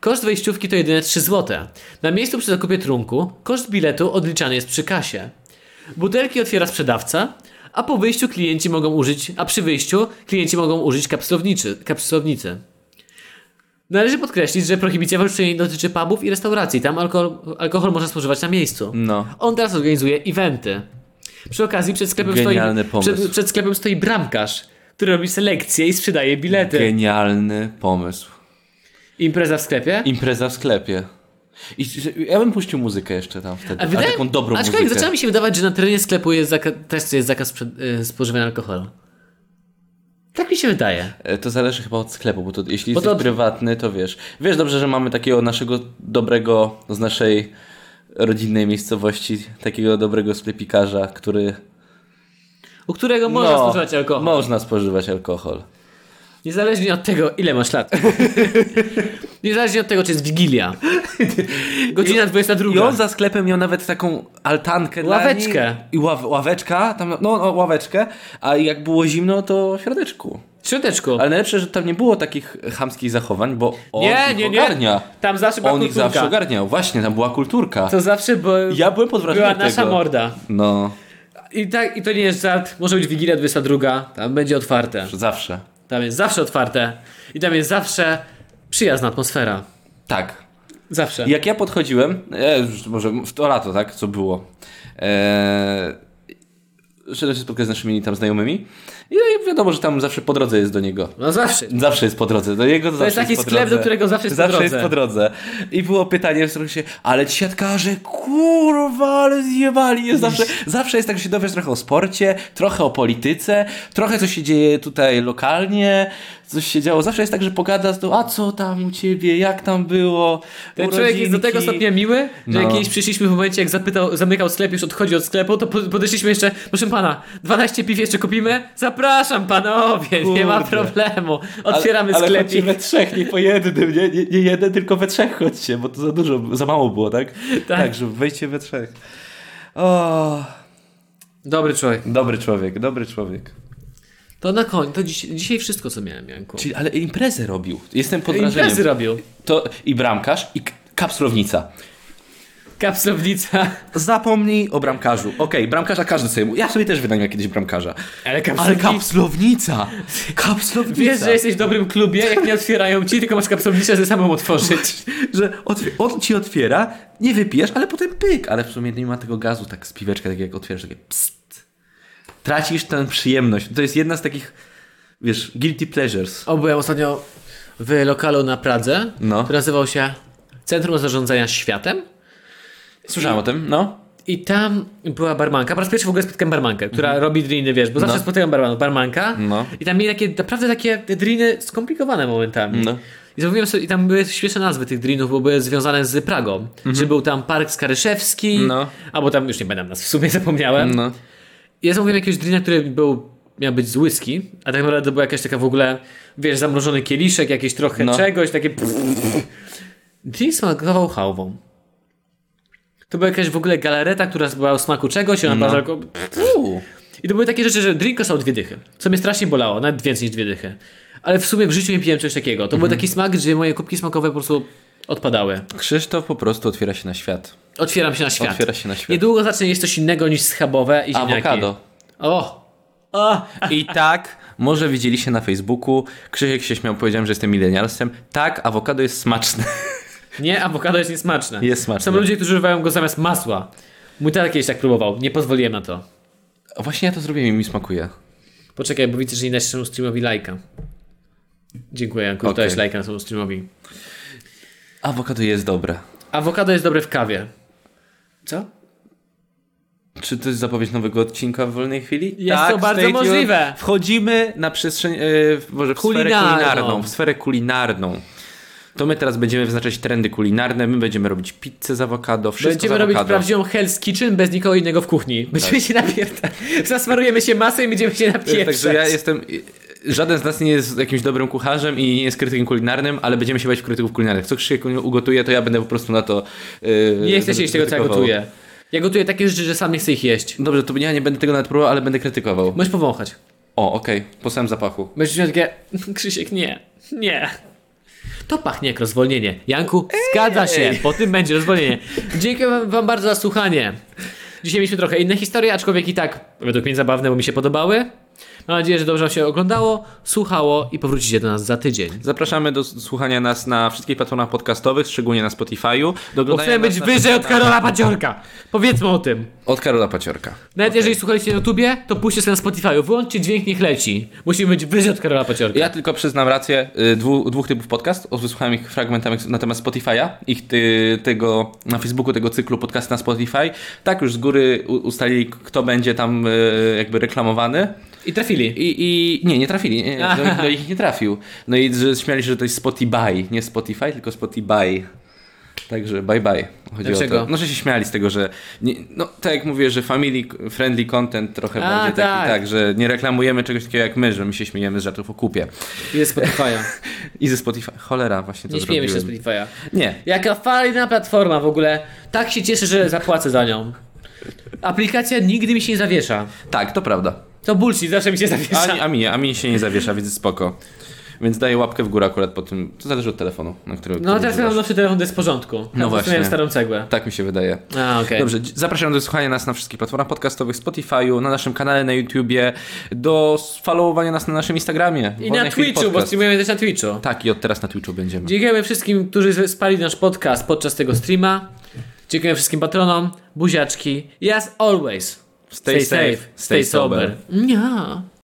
Speaker 2: Koszt wejściówki to jedyne 3 zł. Na miejscu przy zakupie trunku koszt biletu odliczany jest przy kasie. Butelki otwiera sprzedawca, a po wyjściu klienci mogą użyć, a przy wyjściu klienci mogą użyć kapsowniczy, kapsownicy. Należy podkreślić, że prohibicja w Olsztynie dotyczy pubów i restauracji. Tam alkohol, alkohol można spożywać na miejscu.
Speaker 1: No.
Speaker 2: On teraz organizuje eventy. Przy okazji przed sklepem,
Speaker 1: Genialny
Speaker 2: stoi,
Speaker 1: pomysł.
Speaker 2: Przed, przed sklepem stoi bramkarz, który robi selekcję i sprzedaje bilety.
Speaker 1: Genialny pomysł.
Speaker 2: Impreza w sklepie?
Speaker 1: Impreza w sklepie. I że- ja bym puścił muzykę jeszcze tam wtedy. A
Speaker 2: wydaje-
Speaker 1: taką dobrą
Speaker 2: aczkolwiek
Speaker 1: muzykę.
Speaker 2: zaczęło mi się wydawać, że na terenie sklepu jest zaka- też jest zakaz przed, y, spożywania alkoholu. Tak mi się wydaje.
Speaker 1: E, To zależy chyba od sklepu, bo to jeśli
Speaker 2: Bo
Speaker 1: jesteś
Speaker 2: to-
Speaker 1: prywatny, to wiesz. Wiesz dobrze, że mamy takiego naszego dobrego, z naszej rodzinnej miejscowości, takiego dobrego sklepikarza, który...
Speaker 2: U którego można
Speaker 1: No,
Speaker 2: spożywać alkohol.
Speaker 1: Można spożywać alkohol.
Speaker 2: Niezależnie od tego, ile masz lat. Niezależnie od tego, czy jest Wigilia. Godzina 22.
Speaker 1: I on za sklepem miał nawet taką altankę dla
Speaker 2: Ławeczkę.
Speaker 1: nich. I ław, ławeczka, tam, no, no ławeczkę, a jak było zimno, to w środeczku.
Speaker 2: W środeczku.
Speaker 1: Ale najlepsze, że tam nie było takich chamskich zachowań, bo on
Speaker 2: Nie,
Speaker 1: ich
Speaker 2: nie, nie.
Speaker 1: ogarnia.
Speaker 2: Tam zawsze była
Speaker 1: On ich
Speaker 2: kulturka.
Speaker 1: zawsze ogarniał. Właśnie, tam była kulturka.
Speaker 2: To zawsze, bo
Speaker 1: Ja byłem pod wrażeniem
Speaker 2: była nasza
Speaker 1: tego.
Speaker 2: morda.
Speaker 1: No,
Speaker 2: I tak, i to nie jest żart. Może być Wigilia 22, tam będzie otwarte.
Speaker 1: zawsze.
Speaker 2: Tam jest zawsze otwarte. I tam jest zawsze przyjazna atmosfera.
Speaker 1: Tak.
Speaker 2: Zawsze.
Speaker 1: Jak ja podchodziłem, e, już może w to lato, tak, co było, e, szedłem się spotkać z naszymi tam znajomymi i no i wiadomo, że tam zawsze po drodze jest do niego.
Speaker 2: No zawsze.
Speaker 1: Zawsze jest po drodze. Do jego to zawsze
Speaker 2: jest taki
Speaker 1: po
Speaker 2: sklep,
Speaker 1: drodze.
Speaker 2: do którego zawsze jest po
Speaker 1: zawsze
Speaker 2: drodze.
Speaker 1: jest po drodze. I było pytanie w się, ale ci siatkarze, kurwa, ale zjewali. Jest zawsze, zawsze jest tak, że się dowiesz trochę o sporcie, trochę o polityce, trochę co się dzieje tutaj lokalnie, coś się działo. Zawsze jest tak, że pogada z tą, a co tam u ciebie, jak tam było,
Speaker 2: Ten człowiek jest do tego
Speaker 1: urodzinki?"
Speaker 2: stopnia miły, że
Speaker 1: No.
Speaker 2: jak kiedyś przyszliśmy w momencie, jak zapytał, zamykał sklep, już odchodzi od sklepu, to po- podeszliśmy jeszcze, proszę pana, 12 piw jeszcze kupimy? Zapraszam panowie, nie ma
Speaker 1: Kurde.
Speaker 2: problemu. Otwieramy
Speaker 1: ale, ale chodźcie
Speaker 2: sklepik.
Speaker 1: we trzech, nie po jednym, nie, nie, nie jeden, tylko we trzech chodźcie, bo to za dużo, za mało było, tak?
Speaker 2: Tak.
Speaker 1: że wejdźcie we trzech. O,
Speaker 2: Dobry człowiek.
Speaker 1: dobry człowiek, dobry człowiek.
Speaker 2: To na koniec, to dziś, dzisiaj wszystko co miałem, Janku.
Speaker 1: Czyli, ale imprezę robił. Jestem pod wrażeniem.
Speaker 2: Imprezy robił.
Speaker 1: To i bramkarz, i k- kapslownica.
Speaker 2: Kapsownica.
Speaker 1: Zapomnij o bramkarzu. Okej, bramkarza każdy sobie... mu- Ja sobie też wynajmę kiedyś bramkarza.
Speaker 2: Ale
Speaker 1: Ale
Speaker 2: kapsownica.
Speaker 1: kapslownica! Kapslownica!
Speaker 2: Wiesz, że jesteś w dobrym klubie, jak nie otwierają ci, tylko masz kapsownicę ze samą otworzyć.
Speaker 1: że otw- on ci otwiera, nie wypijesz, ale potem pyk, ale w sumie nie ma tego gazu, tak z piweczka, tak jak otwierasz, takie pst. Tracisz tę przyjemność. To jest jedna z takich, wiesz, guilty pleasures.
Speaker 2: O, byłem ostatnio w lokalu na Pradze,
Speaker 1: No.
Speaker 2: który nazywał się Centrum Zarządzania Światem.
Speaker 1: Słyszałem o tym, no.
Speaker 2: I tam była barmanka, po raz pierwszy w ogóle spotkałem barmankę, która robi driny, wiesz, bo zawsze
Speaker 1: Mhm. No.
Speaker 2: spotykam barmanów, barmanka
Speaker 1: No.
Speaker 2: i tam mieli takie, naprawdę takie te driny skomplikowane momentami.
Speaker 1: No.
Speaker 2: I zamówiłem sobie, i tam były śmieszne nazwy tych drinów, bo były związane z Pragą, że był tam Park Skaryszewski,
Speaker 1: Mhm. No.
Speaker 2: albo tam, już nie będę nas w sumie zapomniałem.
Speaker 1: no.
Speaker 2: I Ja zamówiłem jakiegoś drina, który był, miał być z whisky, a tak naprawdę to była jakaś taka w ogóle, wiesz, zamrożony kieliszek, jakieś trochę
Speaker 1: No.
Speaker 2: czegoś, takie... Drink smakował chałwą. To była jakaś w ogóle galareta, która była o smaku czegoś, i
Speaker 1: No.
Speaker 2: ona była tylko...
Speaker 1: Uuu.
Speaker 2: I to były takie rzeczy, że drink kosztował dwie dychy, co mnie strasznie bolało, nawet więcej niż dwie dychy. Ale w sumie w życiu nie piłem czegoś takiego. To
Speaker 1: Mhm.
Speaker 2: był taki smak, że moje kubki smakowe po prostu odpadały.
Speaker 1: Krzysztof po prostu otwiera się na świat.
Speaker 2: Otwieram się na świat.
Speaker 1: Otwiera się na świat.
Speaker 2: Niedługo zacznie jeść coś innego niż schabowe i ziemniaki.
Speaker 1: Awokado.
Speaker 2: O! O!
Speaker 1: I tak, może widzieliście na Facebooku, Krzysiek się śmiał, powiedziałem, że jestem milenialsem. Tak, awokado jest smaczne.
Speaker 2: Nie, awokado jest niesmaczne.
Speaker 1: Jest smaczne.
Speaker 2: Są ludzie, którzy używają go zamiast masła. Mój tata kiedyś tak próbował, nie pozwoliłem na to.
Speaker 1: A Właśnie ja to zrobiłem i mi smakuje.
Speaker 2: Poczekaj, bo widzę, że nie dałeś naszemu streamowi lajka. Dziękuję, Janku, okay.
Speaker 1: Okej.
Speaker 2: dałeś lajka naszemu streamowi.
Speaker 1: Awokado jest dobre.
Speaker 2: Awokado jest dobre w kawie. Co?
Speaker 1: Czy to jest zapowiedź nowego odcinka w wolnej chwili? Tak,
Speaker 2: Jest to bardzo
Speaker 1: stay tuned.
Speaker 2: możliwe.
Speaker 1: Wchodzimy na przestrzeń, e, w- może w sferę
Speaker 2: Kulinarną.
Speaker 1: kulinarną. W sferę kulinarną. to my teraz będziemy wyznaczać trendy kulinarne, my będziemy robić pizzę z awokado, wszystko
Speaker 2: Będziemy
Speaker 1: z
Speaker 2: robić
Speaker 1: awokado. Tak.
Speaker 2: prawdziwą Hell's Kitchen bez nikogo innego w kuchni. Będziemy się napierdać. Zasmarujemy się masę i będziemy się napierdać.
Speaker 1: Także ja jestem. Żaden z nas nie jest jakimś dobrym kucharzem i nie jest krytykiem kulinarnym, ale będziemy się bać krytyków kulinarnych. Co Krzysiek ugotuje, to ja będę po prostu na to. Yy,
Speaker 2: Nie chcę się jeść tego, tak co ja
Speaker 1: krytykował.
Speaker 2: gotuję. Ja gotuję takie rzeczy, że sam nie chcę ich jeść.
Speaker 1: Dobrze, to ja nie będę tego nawet próbował, ale będę krytykował.
Speaker 2: Możesz powąchać.
Speaker 1: O, okej, po samym zapachu.
Speaker 2: Będziesz miał takie, Krzysiek, nie, nie. To pachnie jak rozwolnienie. Janku, zgadza się, po tym będzie rozwolnienie. Dziękuję wam- wam bardzo za słuchanie. Dzisiaj mieliśmy trochę inne historie, aczkolwiek i tak według mnie zabawne, bo mi się podobały. Mam nadzieję, że dobrze wam się oglądało, słuchało i powrócicie do nas za tydzień.
Speaker 1: Zapraszamy do s- słuchania nas na wszystkich platformach podcastowych, szczególnie na Spotify'u. Do
Speaker 2: Bo
Speaker 1: oglądania
Speaker 2: chcemy
Speaker 1: nas
Speaker 2: być
Speaker 1: na-
Speaker 2: wyżej od Karola Paciorka. Powiedzmy o tym.
Speaker 1: Od Karola Paciorka.
Speaker 2: Nawet jeżeli słuchaliście na YouTubie, to puśćcie sobie na Spotify. Wyłączcie dźwięk, niech leci. Musimy być wyżej od Karola Paciorka.
Speaker 1: Ja tylko przyznam rację y, dwu, dwóch typów podcast. O, Wysłuchałem ich fragmentami na temat Spotify'a, ich ty, tego na Facebooku, tego cyklu podcast na Spotify. Tak już z góry u, ustalili, k- kto będzie tam y, jakby reklamowany.
Speaker 2: I trafili.
Speaker 1: I, i nie, nie trafili, nie, do, do ich nie trafił. No i że śmiali się, że to jest Spotify, nie Spotify, tylko Spotify. Także bye bye. Chodzi
Speaker 2: Dlaczego?
Speaker 1: o to. No, że się śmiali z tego, że nie, no tak jak mówię, że family friendly content trochę
Speaker 2: A,
Speaker 1: będzie
Speaker 2: tak.
Speaker 1: taki, tak, że nie reklamujemy czegoś takiego jak my, że my się śmiejemy z żartów o kupie.
Speaker 2: Jest Spotify'a.
Speaker 1: I ze Spotify. Cholera, właśnie to
Speaker 2: Nie śmiejemy się ze
Speaker 1: zrobiłem.
Speaker 2: Spotify'a.
Speaker 1: Nie.
Speaker 2: Jaka fajna platforma w ogóle. Tak się cieszę, że zapłacę za nią. Aplikacja nigdy mi się nie zawiesza.
Speaker 1: Tak, to prawda.
Speaker 2: To bullshit, zawsze mi się
Speaker 1: A,
Speaker 2: zawiesza.
Speaker 1: a, mi, a mi się nie zawiesza, więc spoko. Więc daję łapkę w górę akurat po tym. To zależy od telefonu, na którym.
Speaker 2: No
Speaker 1: który
Speaker 2: teraz ja mam
Speaker 1: używasz.
Speaker 2: nowszy telefon, to jest w porządku. Ja
Speaker 1: No właśnie.
Speaker 2: starą cegłę.
Speaker 1: Tak mi się wydaje.
Speaker 2: A, okej.
Speaker 1: Dobrze, dzi- zapraszam do słuchania nas na wszystkich platformach podcastowych, Spotify'u, na naszym kanale na YouTubie, do followowania nas na naszym Instagramie.
Speaker 2: I
Speaker 1: Wolnej
Speaker 2: na
Speaker 1: Chwili
Speaker 2: Twitchu, bo
Speaker 1: Podcast.
Speaker 2: streamujemy też na Twitchu.
Speaker 1: Tak, i od teraz na Twitchu będziemy.
Speaker 2: Dziękujemy wszystkim, którzy spali nasz podcast podczas tego streama. Dziękujemy wszystkim patronom, buziaczki. I As always,
Speaker 1: Stay safe, stay sober.
Speaker 2: Nie.